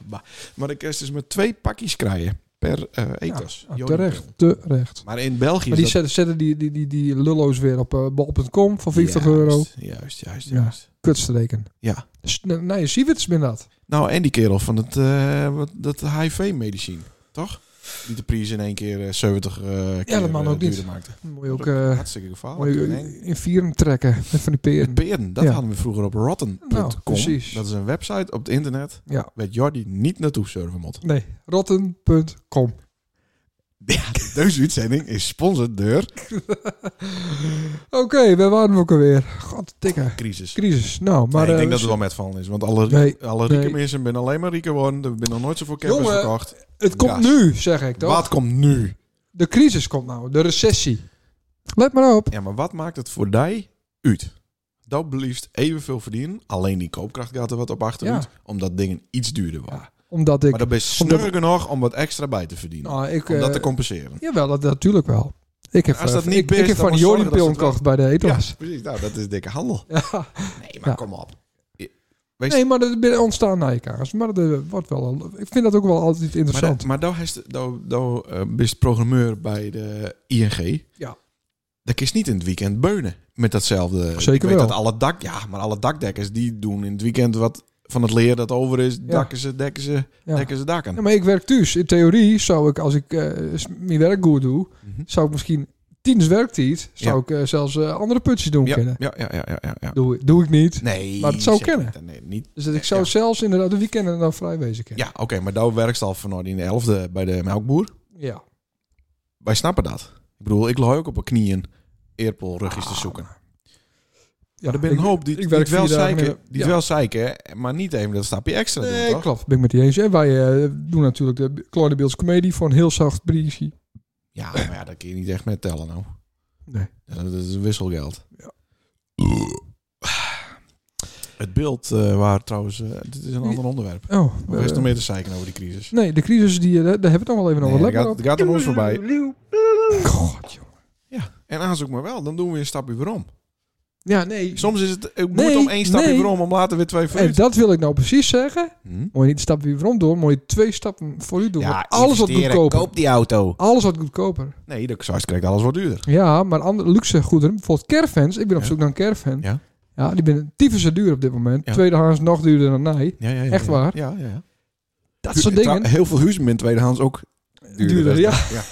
S2: Maar dan krijg je dus maar twee pakjes krijgen. per eh ETAS.
S1: Ja, ah,
S2: Jodendeel.
S1: terecht, terecht.
S2: Maar in België
S1: Maar die
S2: is dat...
S1: zetten, zetten die, die, die, die lullo's weer op eh, bol.com van 50
S2: Juist,
S1: euro.
S2: Juist, juist,
S1: Ja.
S2: juist.
S1: Kutstreken.
S2: Ja.
S1: Dus, nou, nou, je ziet het, ben dat.
S2: Nou, en die kerel van het, eh, wat- dat HIV-medicin, toch? Die de prijs in één keer eh, 70 eh keer
S1: dat mag
S2: eh,
S1: ook niet.
S2: duurder maakte.
S1: Moet je ook eh,
S2: Hartstikke
S1: moet
S2: gevaarlijk.
S1: je
S2: Nee.
S1: in vieren trekken met van die
S2: Met
S1: peren.
S2: peren, dat
S1: Ja.
S2: hadden we vroeger op rotten.com.
S1: Nou, precies.
S2: dat is een website op het internet
S1: Ja.
S2: waar Jordi niet naartoe surfen moet.
S1: Nee, rotten.com.
S2: Deze uitzending is sponsored door
S1: Oké, we waren we ook alweer. God, dikke.
S2: Crisis.
S1: Crisis. Nou, maar...
S2: Nee, ik
S1: eh,
S2: denk dat het wel met vallen is, want alle,
S1: Nee,
S2: alle rieke
S1: nee.
S2: mensen zijn alleen maar rieke geworden. Er zijn nog nooit zoveel campers
S1: Jongen,
S2: verkocht.
S1: het komt
S2: Gas.
S1: nu, zeg ik toch?
S2: Wat komt nu?
S1: De crisis komt nou, de recessie. Let maar op.
S2: Ja, maar wat maakt het voor die uit? Dat beliefst evenveel verdienen, alleen die koopkracht gaat er wat op achteruit,
S1: Ja.
S2: omdat dingen iets duurder waren.
S1: Omdat ik...
S2: Maar dat ben je
S1: omdat-
S2: snurker nog om wat extra bij te verdienen.
S1: nou, ik,
S2: om dat
S1: eh,
S2: te compenseren.
S1: Jawel, dat, natuurlijk wel. Ik heb,
S2: Als
S1: eh,
S2: dat niet
S1: ik,
S2: best,
S1: ik heb
S2: dan
S1: van
S2: moet
S1: Jordi
S2: zorgen dat ze
S1: Piln
S2: het wel-
S1: kocht bij de etels.
S2: precies. Nou, dat is dikke handel.
S1: Ja.
S2: Nee, maar
S1: Ja.
S2: kom op.
S1: Nee, maar er zijn ontstaan nijkaars. Maar dat eh, wordt wel... een- Ik vind dat ook wel altijd
S2: Maar, dat-
S1: interessant.
S2: maar daar is de- daar- daar, eh, bist programmeur bij de ING.
S1: Ja.
S2: Dat is niet in het weekend beunen met datzelfde.
S1: Zeker
S2: Ik weet
S1: wel.
S2: Dat alle dak, ja, maar alle dakdekkers die doen in het weekend wat van het leer dat over is, dakken ze, dekken ze,
S1: Ja.
S2: dekken ze dakken.
S1: Ja, maar ik werk thuis. In theorie zou ik, als ik eh, s- mijn werk goed doe,
S2: Mhm.
S1: zou ik misschien tiens werktijd, zou
S2: Ja.
S1: ik eh, zelfs eh, andere putjes doen
S2: Ja,
S1: kennen.
S2: ja, ja, ja, ja, ja, ja.
S1: Doe, doe ik niet.
S2: Nee.
S1: Maar het zou
S2: zeker
S1: kennen.
S2: niet. Nee, niet.
S1: Dus dat ik zou
S2: Ja.
S1: zelfs inderdaad de weekenden dan vrij wezen kennen.
S2: Ja, oké, maar daar werkt al vanaf in de elfde bij de melkboer.
S1: Ja.
S2: Wij snappen dat. Ik bedoel, ik loop ook op mijn knieën eerpelrugjes te zoeken.
S1: Ja,
S2: er Ah. ben een
S1: Ah, ik-
S2: hoop die,
S1: ik
S2: die
S1: werk
S2: het wel
S1: vier dagen
S2: zeiken,
S1: in de-
S2: die het
S1: ja.
S2: wel zeiken, maar niet even dat stapje extra doen,
S1: Nee,
S2: toch?
S1: klopt. Ben ik met die eens. En wij eh, doen natuurlijk de Claude Beels Comedie voor een heel zacht briefje.
S2: Ja, maar ja, dat kun je niet echt met tellen nou.
S1: Nee.
S2: Dat dat is wisselgeld.
S1: Ja.
S2: Het beeld eh, waar trouwens... eh, dit is een ander onderwerp.
S1: Oh,
S2: Of
S1: eh,
S2: is er nog meer te zeiken over die crisis?
S1: nee, de crisis, die, eh, daar hebben we het nog wel even
S2: Nee,
S1: over.
S2: dat
S1: Let maar
S2: gaat,
S1: op.
S2: dat gaat aan ons voorbij.
S1: God, joh.
S2: En aanzoek maar wel, dan doen we een stapje weer om.
S1: Ja, nee.
S2: Soms is het, het
S1: Nee,
S2: moet om één stapje
S1: nee.
S2: weer om, om later weer twee
S1: En
S2: vooruit.
S1: dat wil ik nou precies zeggen.
S2: Hm?
S1: Moet je niet een stap weer rond doen, moet je twee stappen vooruit doen. want alles wat
S2: investeren,
S1: goedkoper.
S2: Koop die auto.
S1: Alles wat goedkoper.
S2: Nee, dat straks krijgt alles wat duurder.
S1: Ja, maar andere luxe goederen, bijvoorbeeld caravans. Ik ben op
S2: Ja.
S1: zoek naar een caravan.
S2: Ja.
S1: Ja, die ben tyfus duur op dit moment.
S2: Ja.
S1: Tweedehands nog duurder dan mij.
S2: Ja, ja, ja,
S1: Echt
S2: ja.
S1: waar?
S2: Ja, ja, ja.
S1: Dat
S2: Hu-
S1: soort
S2: trouw-
S1: dingen.
S2: Heel veel huizen in tweedehands ook duurder.
S1: Duurder,
S2: Ja.
S1: ja.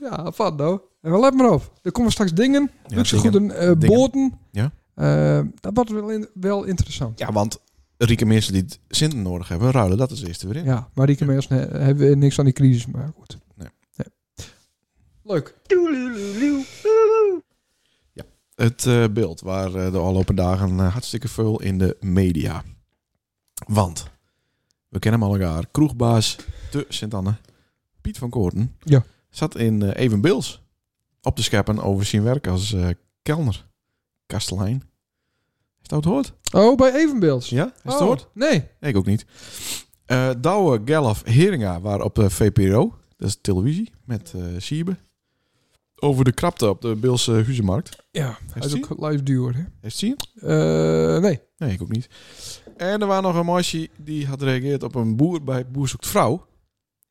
S1: Ja, van nou. En wel, let maar op. Er komen straks dingen,
S2: Ja,
S1: luxe
S2: dingen.
S1: goederen, eh,
S2: Dingen.
S1: boten.
S2: Ja.
S1: Eh, dat wordt wel, in- wel interessant.
S2: Ja, want rieke mensen die het Sinten nodig hebben, ruilen dat is het eerste weer in.
S1: Ja, maar Rieke Meels nee, hebben we niks aan die crisis, maar goed.
S2: Nee.
S1: Nee. Leuk.
S2: Het eh, beeld waar eh, de afgelopen dagen eh, hartstikke veel in de media. Want, we kennen hem al elkaar, kroegbaas te Sint-Anne, Piet van Koorten,
S1: Ja.
S2: zat in eh Evenbeels op te scheppen over zijn werk als eh kelner, kastelein. Is dat het hoort?
S1: Oh, bij Evenbeelds.
S2: Ja, is het
S1: Oh,
S2: hoort?
S1: Nee.
S2: Nee, ik ook niet. Eh Douwe Gellaf Heringa waren op de VPRO, dat is televisie, met eh Siebe. Over de krapte op de Beelse Huizenmarkt.
S1: Ja, hij is
S2: hij?
S1: ook live duur. Hè?
S2: Heeft zien?
S1: Eh, nee.
S2: Nee, ik ook niet. En er was nog een meisje die had gereageerd op een boer bij Boer zoekt vrouw.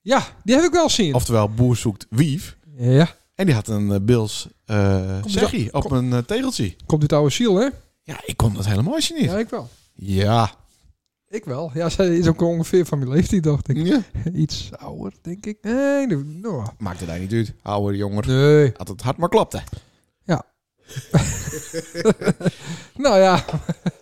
S1: Ja, die heb ik wel zien.
S2: Oftewel, Boer zoekt wief.
S1: Ja.
S2: En die had een eh, Bils eh
S1: Komt
S2: zeggie op
S1: kom-
S2: een eh, tegeltje.
S1: Komt uit oude ziel, hè?
S2: Ja, ik kon dat hele meisje niet.
S1: Ja,
S2: Ja.
S1: ik wel.
S2: Ja.
S1: Ik wel. Ja, zij is ook ongeveer van mijn leeftijd, dacht ik. Iets ouder, denk ik. Nee, nee, nou.
S2: Maakte daar niet uit. Ouder, jonger.
S1: Nee.
S2: Had het hard maar klopte.
S1: Nou ja.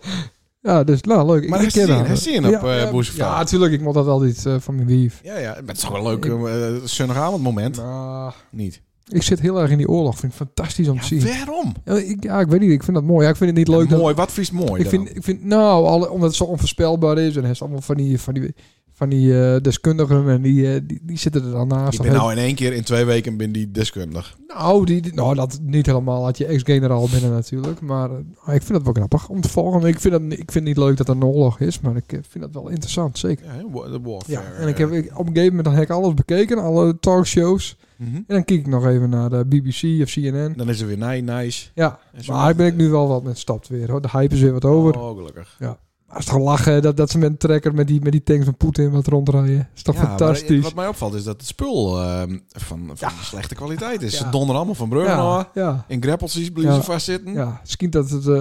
S1: ja, dus nou, leuk.
S2: Maar
S1: ik
S2: hij
S1: ken
S2: zie-
S1: haar.
S2: hij zie je op, eh,
S1: ja,
S2: Boer zoekt
S1: Ja,
S2: vrouw.
S1: natuurlijk. Ik moet dat altijd eh, van mijn wief.
S2: Ja, ja. Maar het is toch wel leuk. eh, eh, Zondagavond moment.
S1: Maar
S2: Niet.
S1: ik zit heel erg in die oorlog. Vind het fantastisch om te zien.
S2: waarom?
S1: Ja ik, ja, ik weet niet. Ik vind dat mooi. Ja, ik vind het niet
S2: Ja,
S1: leuk. dat-
S2: mooi, wat vies mooi.
S1: ik, vind, ik vind, nou, alle, omdat het zo onvoorspelbaar is. En hij is allemaal van die, van die, van die eh, deskundigen. En die, eh, die, die zitten er dan naast.
S2: ik ben nou in één keer in twee weken ben die deskundig.
S1: Nou, die, die- nou, dat niet helemaal. Had je ex-generaal binnen natuurlijk. Maar eh, ik vind dat wel grappig om te volgen. Ik vind, dat, ik vind het niet leuk dat er een oorlog is. Maar ik eh, vind dat wel interessant, zeker.
S2: Ja, hè, wa- de warfare.
S1: Ja, en ik heb, ik, op een gegeven moment heb ik alles bekeken. Alle talkshows.
S2: Mhm.
S1: En dan kijk ik nog even naar de BBC of CNN.
S2: Dan is er weer ni- nice.
S1: Ja,
S2: En zo.
S1: maar daar ben ik nu wel wat met stapt weer. Hoor. De hype is weer wat over.
S2: Oh, gelukkig.
S1: Ja. Maar het is toch lachen dat, dat ze met een trekker met die, met die tanks van Poetin wat rondrijden. is toch
S2: Ja, maar
S1: fantastisch.
S2: wat mij opvalt is dat het spul ehm, van, van slechte kwaliteit is.
S1: Ja.
S2: Ze donderen allemaal van bruggen af.
S1: ja, ja,
S2: In greppeltjes blijven
S1: Ja.
S2: ze vastzitten.
S1: ja, misschien dat het... eh,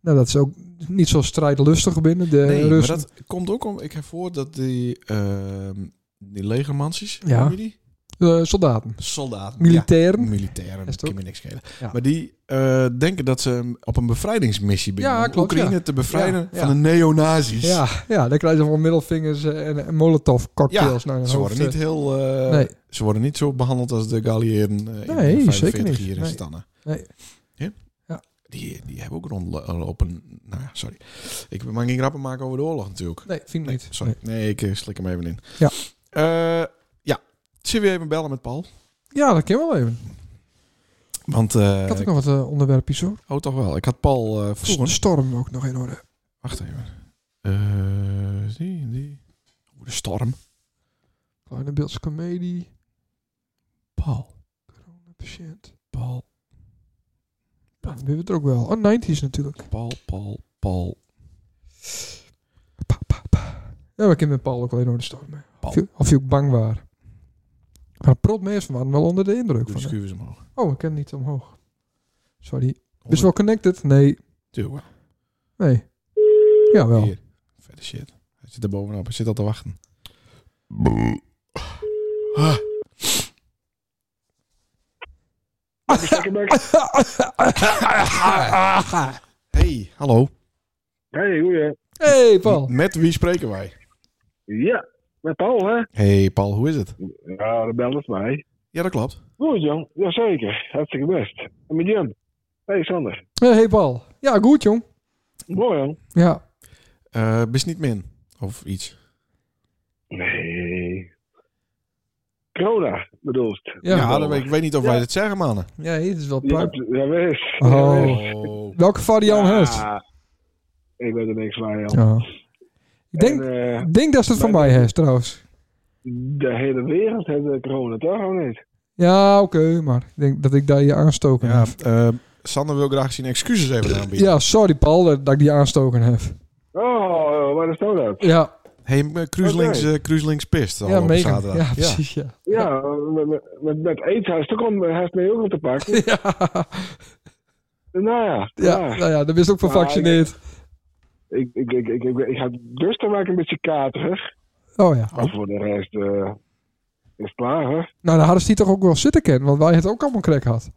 S1: nou, dat ze ook niet zo strijdlustig binnen, de
S2: Nee, maar
S1: Russen.
S2: dat komt ook om... Ik heb voor dat die, ehm die legermansjes,
S1: Ja.
S2: noem je die?
S1: Eh, soldaten.
S2: Soldaten.
S1: Militairen.
S2: Ja, militairen,
S1: Is
S2: dat
S1: het ook?
S2: kan me niks schelen.
S1: Ja.
S2: Maar die eh, denken dat ze hem op een bevrijdingsmissie binnen.
S1: Ja,
S2: om
S1: klopt,
S2: Oekraïne
S1: ja.
S2: te bevrijden
S1: Ja, ja.
S2: van de neonazis.
S1: Ja, ja, dan krijgen ze allemaal middelvingers eh, en, en molotov cocktails naar hun
S2: Ze
S1: hoofd.
S2: worden niet heel... eh,
S1: Nee.
S2: Ze worden niet zo behandeld als de Galliëren eh, in
S1: Nee,
S2: de
S1: zeker
S2: 45
S1: niet.
S2: hier in
S1: Nee.
S2: Stanne.
S1: Nee.
S2: Ja?
S1: Ja.
S2: Die, die hebben ook rondlopen... Nou ja, sorry. Ik mag geen grappen maken over de oorlog natuurlijk.
S1: Nee, vind ik
S2: Nee,
S1: niet.
S2: sorry.
S1: Nee.
S2: Nee, ik eh, slik hem even in.
S1: Ja.
S2: Eh, ja. Zullen we even bellen met Paul?
S1: Ja, dat kan wel even.
S2: Want... eh,
S1: Ik had ook nog wat eh, onderwerpjes hoor.
S2: Oh, toch wel. Ik had Paul eh
S1: S-
S2: vroeger...
S1: Storm ook nog in orde.
S2: Wacht even. Eh, die, die. Oeh, de storm.
S1: Kleine beeldse comedie.
S2: Paul.
S1: Patiënt.
S2: Paul.
S1: Ja, dan hebben we het er ook wel. Oh, 90s natuurlijk.
S2: Paul, Paul, Paul.
S1: Pa, pa, pa. Ja, maar ik ken met Paul ook wel in orde storm.
S2: Paul.
S1: Of je, of je ook bang was. Maar prot mensen waren wel onder de indruk
S2: Doe de
S1: van. hem.
S2: schuivers omhoog.
S1: Oh, ik ken niet omhoog. Sorry. Is wel connected? Nee.
S2: Tuurlijk
S1: Nee. Jawel.
S2: wel. Hier. Verder shit. Hij zit er bovenop. Hij zit al te wachten. Ah, Hey, hallo.
S5: Hey, goeie.
S1: Hey Paul.
S2: M- Met wie spreken wij?
S5: Ja, met Paul, hè?
S2: Hey Paul, hoe is het?
S5: Ja, dat belt het mij.
S2: Ja, dat klopt.
S5: Goed, Jan. Jazeker. Hartstikke best. En met Jan. Hey, Sander.
S1: Hey Paul. Ja, goed jong.
S5: Mooi, Jan.
S1: Ja.
S2: Eh bist niet min. Of iets.
S5: Nee. Corona, bedoelst.
S1: Ja.
S2: Ja, dat weet ik ik weet niet of wij
S5: Ja.
S2: het zeggen, mannen.
S1: Nee, dit is wel
S5: Ja,
S1: prima.
S5: t- ja, wees.
S1: Oh.
S5: Ja, wees.
S2: Oh.
S1: Welke variant heeft?
S5: Ja, Ik weet er niks van, Jan.
S1: Ja. Ik denk,
S5: En, eh,
S1: ik denk dat ze het van
S5: wij
S1: mij heeft trouwens.
S5: de hele wereld heeft eh, corona, toch? Of niet?
S1: Ja, oké, maar ik denk dat ik daar je aanstoken
S2: Ja,
S1: heb.
S2: eh, Sander wil graag zijn excuses even aanbieden.
S1: Ja, sorry Paul dat, dat ik die aanstoken heb.
S5: Oh, waar is nou dat?
S1: Ja,
S2: Hey, m- eh, Cruise
S5: Oké.
S2: Links, eh, Cruise Links pist al
S1: ja,
S2: op
S1: mega.
S2: zaterdag.
S1: Ja, precies, ja.
S5: Ja, met, met, met eten heeft het ook om- heeft mij ook om te pakken.
S1: Ja,
S5: Nou ja.
S1: ja,
S5: ja.
S1: nou ja, daar wist ook voor
S5: Maar ik-
S1: gevaccineerd.
S5: Ik, ik, ik, ik, ik, ik had dus dan maak ik een beetje katerig.
S1: Oh ja.
S5: Maar voor de rest eh, is het klaar, hè?
S1: Nou, dan hadden ze die toch ook wel zitten kennen, want wij het ook allemaal krek had.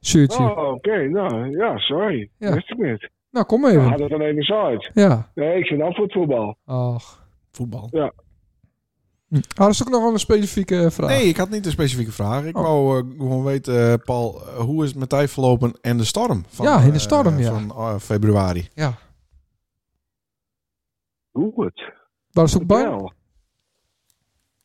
S1: Zuurtje.
S5: Oh, oké. Nou, ja, sorry.
S1: Ja.
S5: Wist ik niet.
S1: Nou, kom
S5: Nou,
S1: even.
S5: had het dan even zo uit.
S1: Ja.
S5: Nee, ik zit af voor het voetbal.
S1: Ach.
S2: Voetbal.
S1: Hm. Hadden ze ook nog wel een specifieke eh, vraag?
S2: Nee, ik had niet een specifieke vraag. Ik
S1: Oh.
S2: wou eh, gewoon weten, eh, Paul, eh, hoe is het met tijd verlopen en de storm? Van,
S1: Ja, en de
S2: eh,
S1: storm, ja.
S2: Van eh, februari.
S1: Ja.
S5: Goed.
S1: Waren ze ook bang?
S5: Wel.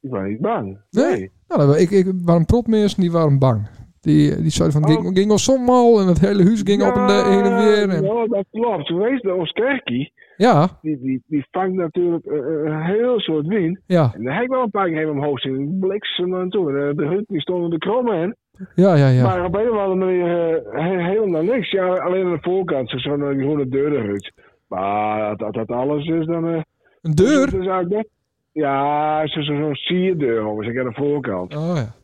S5: Ik ben niet bang.
S1: Nee? Nou, dat wa- ik, ik waren protmeers en die waren bang. Die, die zeiden van, het
S5: Oh.
S1: ging, ging al sommaal en het hele huis ging op en de heen en weer. En,
S5: Ja, dat klopt. Wees de ons kerkie,
S1: ja,
S5: die, die, die vangt natuurlijk eh, eh, een heel soort wind.
S1: ja,
S5: En daar heb ik wel een paar keer even omhoog zien. Bliksem en toe. En, eh, De hut die stond de krommen in.
S1: ja, ja, ja.
S5: Maar op een of andere manier eh, he- helemaal niks. Ja, alleen aan de voorkant, zo- zo'n eh, groene deur eruit. Maar dat, dat, dat alles is dan... eh,
S1: Een deur?
S5: dus eigenlijk- ja, zo- zo- zo'n sierdeur, jongens. Ik aan de voorkant.
S1: Oh ja.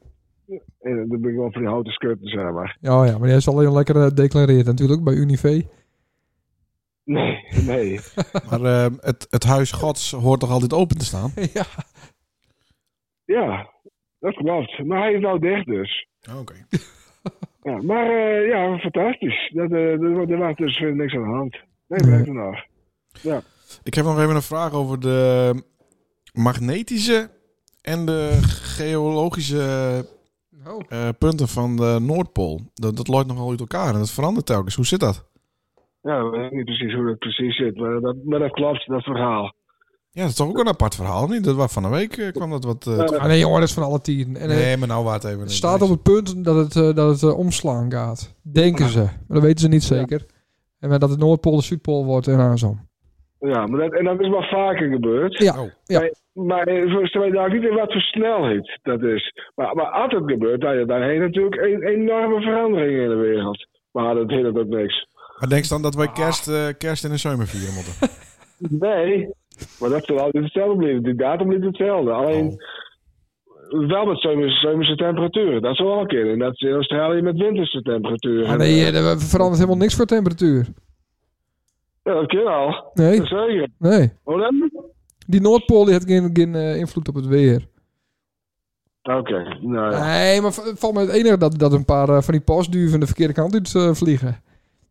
S5: En dan ben ik wel van die houten schutten, zeg maar.
S1: Ja, ja, maar die is alleen lekker eh, declareerd natuurlijk bij Unive.
S5: Nee, nee.
S2: Maar eh, het, het huis gods hoort toch altijd open te staan?
S1: ja.
S5: Ja, dat klopt. Maar hij is nou dicht dus.
S2: Oké.
S5: Ja, maar eh, ja, fantastisch. Dat, eh, er, wa- er was dus eh, niks aan de hand. Nee, blijf er nog.
S2: Ik heb nog even een vraag over de magnetische en de geologische
S1: Nou,
S2: eh, punten van de Noordpool. Dat, dat loopt nogal uit elkaar en dat verandert telkens. Hoe zit dat?
S5: Ja, we weten niet precies hoe dat precies zit. Maar dat, maar dat klopt, dat verhaal.
S2: Ja, dat is toch ook een apart verhaal, niet? Dat was van een week eh, kwam dat wat... eh,
S5: Ja,
S1: ah, nee jongen, dat is van alle tieren. En, eh,
S2: nee, maar nou wacht even.
S1: het staat op het punt dat het, eh, dat het eh, omslaan gaat. Denken ze. Maar dat weten ze niet zeker. En maar dat het Noordpool de Zuidpool wordt en aan zo.
S5: Ja, maar dat, en dat is wel vaker gebeurd.
S1: Ja,
S2: Oh.
S1: ja.
S5: Maar eh, volgens mij daar niet in wat voor snelheid dat is. Maar, maar als het gebeurt, dan, dan heeft natuurlijk een enorme verandering in de wereld. Maar dat hindert ook niks.
S2: Maar denk je dan dat wij kerst, eh, kerst in de zomer vieren moeten?
S5: Nee, maar dat zal altijd hetzelfde blijven. Die datum blijft hetzelfde. Alleen wel met zomerse, zomerse temperaturen. Dat is wel een keer. En dat is in Australië met winterse temperaturen.
S1: Ah, nee, eh, er verandert helemaal niks voor temperatuur.
S5: Ja, dat kan al.
S1: Nee,
S5: Dat zeker.
S1: nee.
S5: Hoe dan?
S1: Die Noordpool die heeft geen, geen eh, invloed op het weer.
S5: Oké, nou ja.
S1: Nee, maar v- valt me het enige dat, dat een paar eh, van die pasduven de verkeerde kant uit eh, vliegen.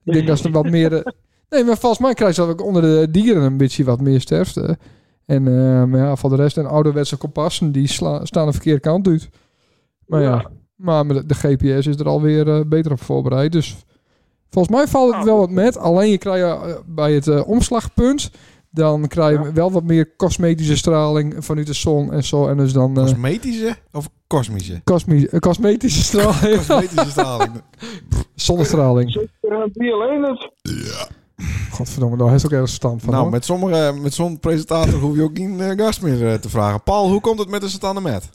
S1: Ik denk dat ze wat meer... eh, nee, maar volgens mij krijg je dat ook onder de dieren een beetje wat meer sterfte. En ehm, ja, voor de rest, en ouderwetse kompassen, die sla- staan de verkeerde kant uit. Maar ja,
S5: Ja.
S1: maar met de, de GPS is er alweer eh, beter op voorbereid. Dus volgens mij valt het
S5: Ah.
S1: wel wat met. Alleen je krijgt eh, bij het eh, omslagpunt, dan krijg je wel wat meer cosmetische straling vanuit de zon en zo. En dus dan... eh,
S2: Cosmetische of kosmische?
S1: Cosmi- eh, cosmetische straling.
S2: Cosmetische straling. Nou,
S1: Zonnestraling.
S5: Zit er aan die alleen het?
S1: Godverdomme, daar heeft ook ergens stand van.
S2: nou,
S1: hoor.
S2: met, sommige, met zo'n presentator hoef je ook geen eh, gast meer eh, te vragen. Paul, hoe komt het met de satane met?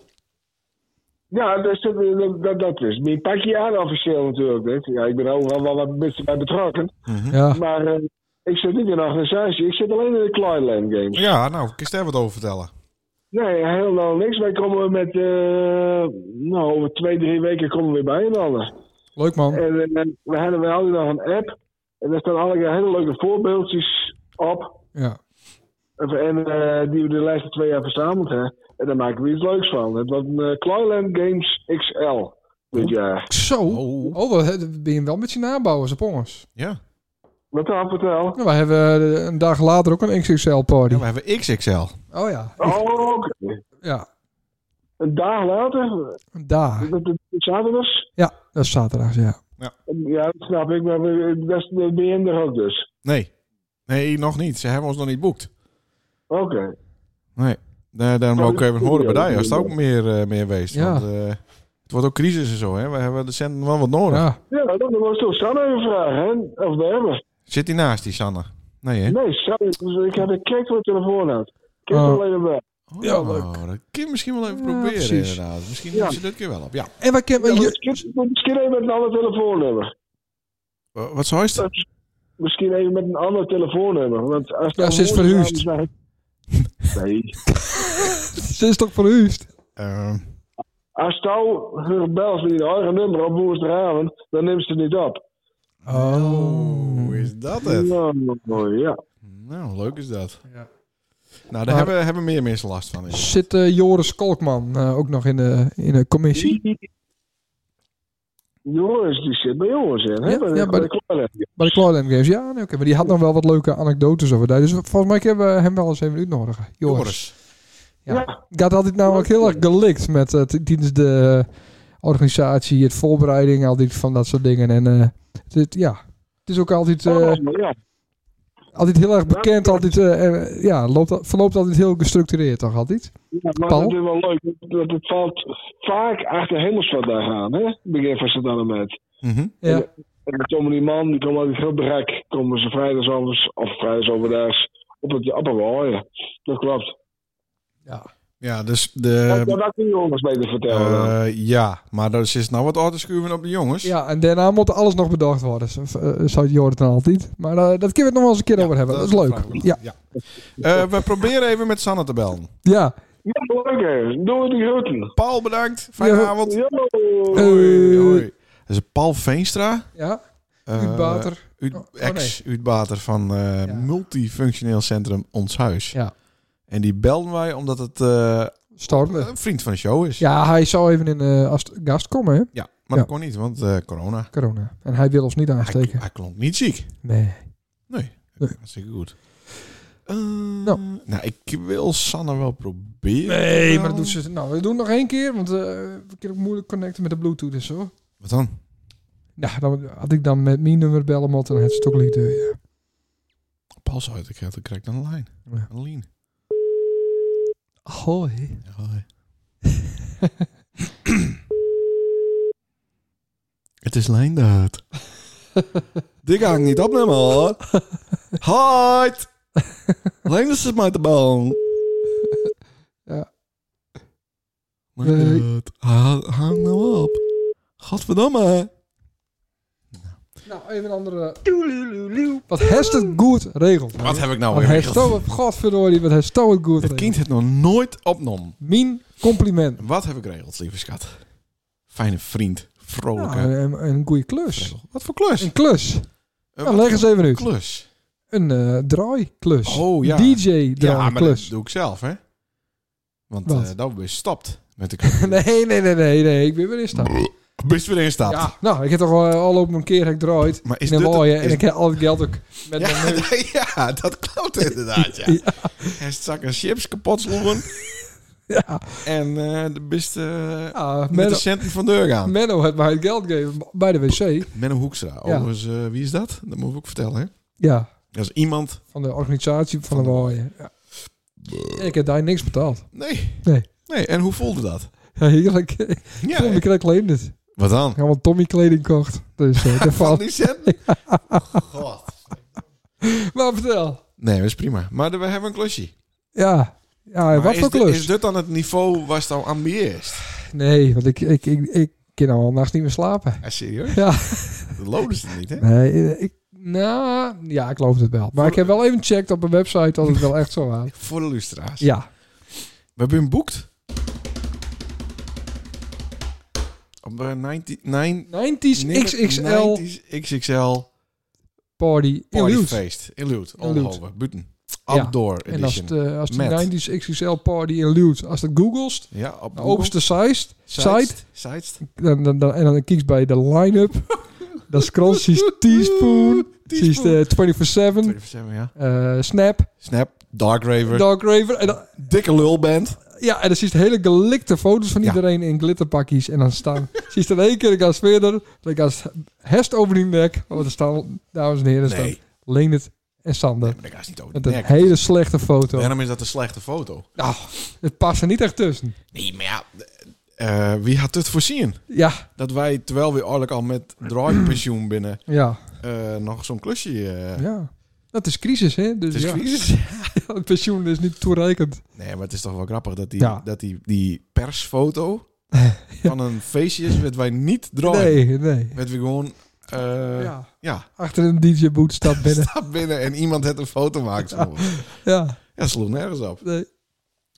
S5: Ja, dus dat is, dat, dat, dat is mijn pakje aan officieel natuurlijk. Dit. Ja, ik ben overal wel wat mensen bij betrokken.
S1: Ja.
S5: Maar eh, ik zit niet in de organisatie. Ik zit alleen in de Clydeland Games.
S2: Ja, nou, kun je daar wat over vertellen?
S5: Nee, helemaal niks. Wij komen met, eh, nou, over twee, drie weken komen we weer bij een ander.
S1: Leuk man.
S5: En eh, we hebben we altijd nog een app. En daar staan allerlei hele leuke voorbeeldjes op.
S1: Ja.
S5: En eh, die we de laatste twee jaar verzameld hebben. En daar maken we iets leuks van. Het was een eh, Clyland Games XL dit jaar.
S1: Zo.
S2: Oh.
S1: Oh, wel, hè, ben je wel met je nabouwers op ons?
S2: Ja.
S5: Wat dan, vertel.
S1: Nou, wij hebben eh, een dag later ook een XXL-party.
S2: ja, we hebben XXL.
S1: Oh ja.
S5: Oh, oké.
S1: Ja.
S5: Een dag later,
S1: Daar.
S5: dat het zaterdags.
S1: Ja, dat is zaterdag, ja.
S5: Ja, dat snap ik, maar we- dat is de behinder ook dus.
S2: Nee. Nee, nog niet. Ze hebben ons nog niet boekt.
S5: Oké.
S2: Nee. Daar, daarom
S5: Oh,
S2: ook even horen bij daar. Als het ook
S5: ja.
S2: meer, eh, meer weest.
S1: Ja.
S2: Want, eh, het wordt ook crisis en zo, hè. We hebben de centen wel wat nodig.
S1: Ja.
S5: Ja, nou, dan was toch Sanne even vragen, hè? Of we hebben.
S2: Zit die naast die, Sanne? Nee, hè?
S5: Nee, Sanne, dus ik heb een kijk voor de telefoon uit. Kijk
S1: Oh.
S5: alleen maar.
S2: Oh,
S1: Ja, leuk.
S2: Dat kun je misschien wel even
S1: Ja,
S2: proberen,
S1: precies.
S2: inderdaad. Misschien
S5: Ja.
S2: doen ze dit keer wel op. Ja.
S1: En wij kennen...
S5: Ja, maar
S1: je-
S5: misschien, misschien even met een ander telefoonnummer.
S2: Eh, wat zou je het?
S5: Misschien even met een ander telefoonnummer. Want als
S1: Ja,
S5: dan
S1: ze is
S5: horen,
S1: verhuisd.
S5: dan zijn- Nee.
S1: Ze is toch verhuisd?
S2: Eh,
S5: Als jou haar belt met je eigen nummer op woensdagavond, dan neemt ze het niet op.
S2: oh, is dat het?
S5: Nou, ja.
S2: Nou, leuk is dat.
S1: Ja.
S2: Nou, daar
S1: Maar-
S2: hebben, hebben meer mensen last van. inderdaad.
S1: Zit eh, Joris Kolkman eh, ook nog in de, in de commissie?
S5: Jongens, die zit bij jongens in, hè?
S1: Ja,
S5: bij, de-
S1: ja,
S5: bij
S1: bij
S5: de kleine.
S1: Bij de Cloudland Games, ja. Nee, oké, Maar die had nog wel wat leuke anekdotes over daar. Dus volgens mij hebben we hem wel eens even uitnodigen. Joris.
S2: Joris.
S1: Ja. gaat altijd namelijk heel erg gelikt met eh, t- tijdens de eh, organisatie, het voorbereiding, al die van dat soort dingen. En eh, dit, ja, het is ook altijd, eh,
S5: Oh, ja.
S1: altijd heel erg bekend, altijd, eh, en, eh, ja, loopt, al- verloopt altijd heel gestructureerd toch altijd.
S5: Ja, maar
S1: Paul?
S5: dat is wel leuk. Dat het valt vaak achter hemelsvatdag aan, hè? Begin van Santana met.
S2: Mhm.
S1: Ja,
S5: En dan komen die man, die komen uit het heel brak. Komen ze vrijdagavond of vrijdagavondaags op het Appenwal, ja. Dat klopt.
S2: Ja, dus
S1: Ehm,
S2: de...
S5: dat had ik de jongens beter vertellen. dan.
S2: eh, ja, maar er is nou wat uit te schuiven op de jongens.
S1: ja en daarna moet alles nog bedacht worden, zo- eh, zou Jordan altijd. Maar eh, dat kunnen we het nog wel eens een keer over hebben, dat is leuk. Ja,
S2: Eh, we proberen even met Sanne te bellen.
S1: ja.
S5: Ja, leuk hè. Doe het die groeten.
S2: Paul, bedankt. Fijne
S1: Ja.
S2: avond.
S5: Yo!
S1: Eh,
S2: Dat is Paul Veenstra.
S1: Ja,
S2: eh,
S1: Huub Bater.
S2: Uit,
S1: Oh, oh,
S2: ex Uitbater van eh,
S1: Ja.
S2: multifunctioneel centrum Ons Huis.
S1: Ja.
S2: En die belden wij omdat het eh,
S1: Stormen.
S2: een vriend van de show is.
S1: Ja, hij zou even in eh, als gast komen, hè?
S2: Ja, maar
S1: Ja.
S2: dat kon niet, want eh, corona.
S1: corona. En hij wil ons niet
S2: Hij,
S1: aansteken.
S2: hij klonk niet ziek.
S1: Nee.
S2: Nee,
S1: Nee.
S2: dat is zeker goed. Eh, nou. ik wil Sanne wel proberen.
S1: Nee, maar dat doet ze. Nou, we doen het nog één keer, want eh, we kunnen ook moeilijk connecten met de Bluetooth en zo.
S2: Wat dan?
S1: Nou, dan had ik dan met mijn nummer bellen moeten en het is toch liefde. Ja.
S2: Paul zou het, ik had- ik krijg dan een lijn.
S1: Ja.
S2: Een lijn.
S1: Hoi.
S2: Ja, hoi. Het is Lijndaad. Die ga ik niet opnemen hoor. Hi! Leenders is mij te bang.
S1: Ja.
S2: Leendert, ha- hang nou op. Godverdamme. Nou.
S1: Nou, even een andere... Wat heeft het goed regeld?
S2: Wat heb ik nou
S1: Wat
S2: weer
S1: heeft
S2: geregeld?
S1: het... Godverdorie, wat heeft het nou goed
S2: Het
S1: regeld?
S2: kind het nog nooit opnomen.
S1: Mijn compliment.
S2: Wat heb ik geregeld, lieve schat? Fijne vriend. Vrolijke.
S1: Nou, een, een goede klus.
S2: regel. Wat voor Oh, klus?
S1: Een klus.
S2: Eh,
S1: Nou,
S2: wat
S1: leg eens even
S2: voor
S1: uit.
S2: klus.
S1: Een eh draaiklus.
S2: Oh, ja.
S1: DJ
S2: Ja, maar dat
S1: draaiklus.
S2: doe ik zelf, hè? Want
S1: Wat?
S2: eh dan ben je stapt met de computer.
S1: nee, nee, nee, nee, nee. Ik ben weer in staat.
S2: Best weer instapt.
S1: Ja, nou, ik heb toch al, al op een keer heb ik draait.
S2: Maar is
S1: In een
S2: dit-
S1: mooie.
S2: is-
S1: En ik heb al het geld ook met mijn
S2: Ja,
S1: neus.
S2: ja, dat klopt inderdaad, ja.
S1: Ja.
S2: Hij stak een chips kapot sloegen.
S1: Ja.
S2: En eh, de beste
S1: Ja,
S2: met de
S1: Menno,
S2: centen van deur gaan.
S1: Menno heeft mij het geld gegeven bij de wc.
S2: Menno Hoekstra. Overigens, eh, wie is dat? Dat moet ik ook vertellen, hè?
S1: Ja,
S2: Dat is iemand...
S1: van de organisatie van,
S2: Van
S1: de
S2: de-
S1: mooie. Ja. En ik heb daar niks betaald.
S2: Nee.
S1: Nee.
S2: Nee, en hoe voelde dat?
S1: Ja, heerlijk.
S2: Ja,
S1: Tommy Krek leende het.
S2: Wat dan?
S1: Ja, want Tommy kleding kocht. Dus eh daar
S2: Van
S1: valt...
S2: die centen? God.
S1: Maar vertel.
S2: Nee, dat is prima. Maar we hebben een klusje.
S1: Ja. Ja,
S2: Maar
S1: wat
S2: is
S1: voor
S2: dit-
S1: klus?
S2: Is dit dan het niveau waar het al ambieerst?
S1: Nee, want ik, ik, ik, ik kan nou al nachts niet meer slapen.
S2: Ja, Ah, serieus?
S1: Ja.
S2: Dat loden ze niet, hè?
S1: Nee, eh, ik, nou, ja, ik geloof het wel. Maar ik heb wel even gecheckt op een website dat het wel echt zo was.
S2: Voor de lustra's.
S1: Ja.
S2: We hebben hem boekt. Op eh, 19 9
S1: 90s XXL
S2: 90s XXL
S1: Party in Lute.
S2: partyfeest in Lute.
S1: In Lute.
S2: Alhoven, buiten.
S1: Ja.
S2: Outdoor
S1: En als,
S2: edition.
S1: het, eh, als
S2: Met.
S1: de 90s XXL Party in Lute, als dat googelst,
S2: ja, op
S1: eh, de
S2: Google.
S1: openste site, site
S2: Zeist- Zeist.
S1: dan, dan, dan- en dan kies bij de line-up. dan scroll je Teaspoon, zie
S2: Teaspoon.
S1: je 24-7,
S2: 24/7, ja.
S1: eh, Snap,
S2: Snap, Dark Raver,
S1: Dark Raver. En dan,
S2: dikke lulband.
S1: Ja, en dan zie je hele gelikte foto's van
S2: Ja.
S1: iedereen in glitterpakjes. En dan staan... zie je dan één keer, ik ga verder. Dan ga ze hest over die nek. Want er staan, dames en heren,
S2: Nee,
S1: staan Leendert en
S2: nee
S1: Sander.
S2: maar dat gaat niet over
S1: Met
S2: de
S1: een
S2: nek.
S1: hele slechte foto.
S2: Daarom is dat een slechte foto.
S1: Nou, het past er niet echt tussen.
S2: Nee, maar ja, eh, eh, wie had dit voorzien?
S1: Ja,
S2: Dat wij, terwijl we eigenlijk al met draaipensioen binnen,
S1: ja,
S2: eh, nog zo'n klusje... eh,
S1: ja. Dat is crisis, hè? Dus
S2: Het is
S1: ja,
S2: crisis.
S1: het pensioen is niet toereikend.
S2: Nee, maar het is toch wel grappig dat die,
S1: Ja.
S2: dat die, die persfoto van een feestje is, werd wij niet draaien.
S1: Nee, nee.
S2: Werd we gewoon, eh, ja,
S1: ja. Achter een DJ-boot staat binnen.
S2: stap binnen en iemand had een foto maakt van ons.
S1: ja,
S2: Ja, sloeg nergens op.
S1: nee.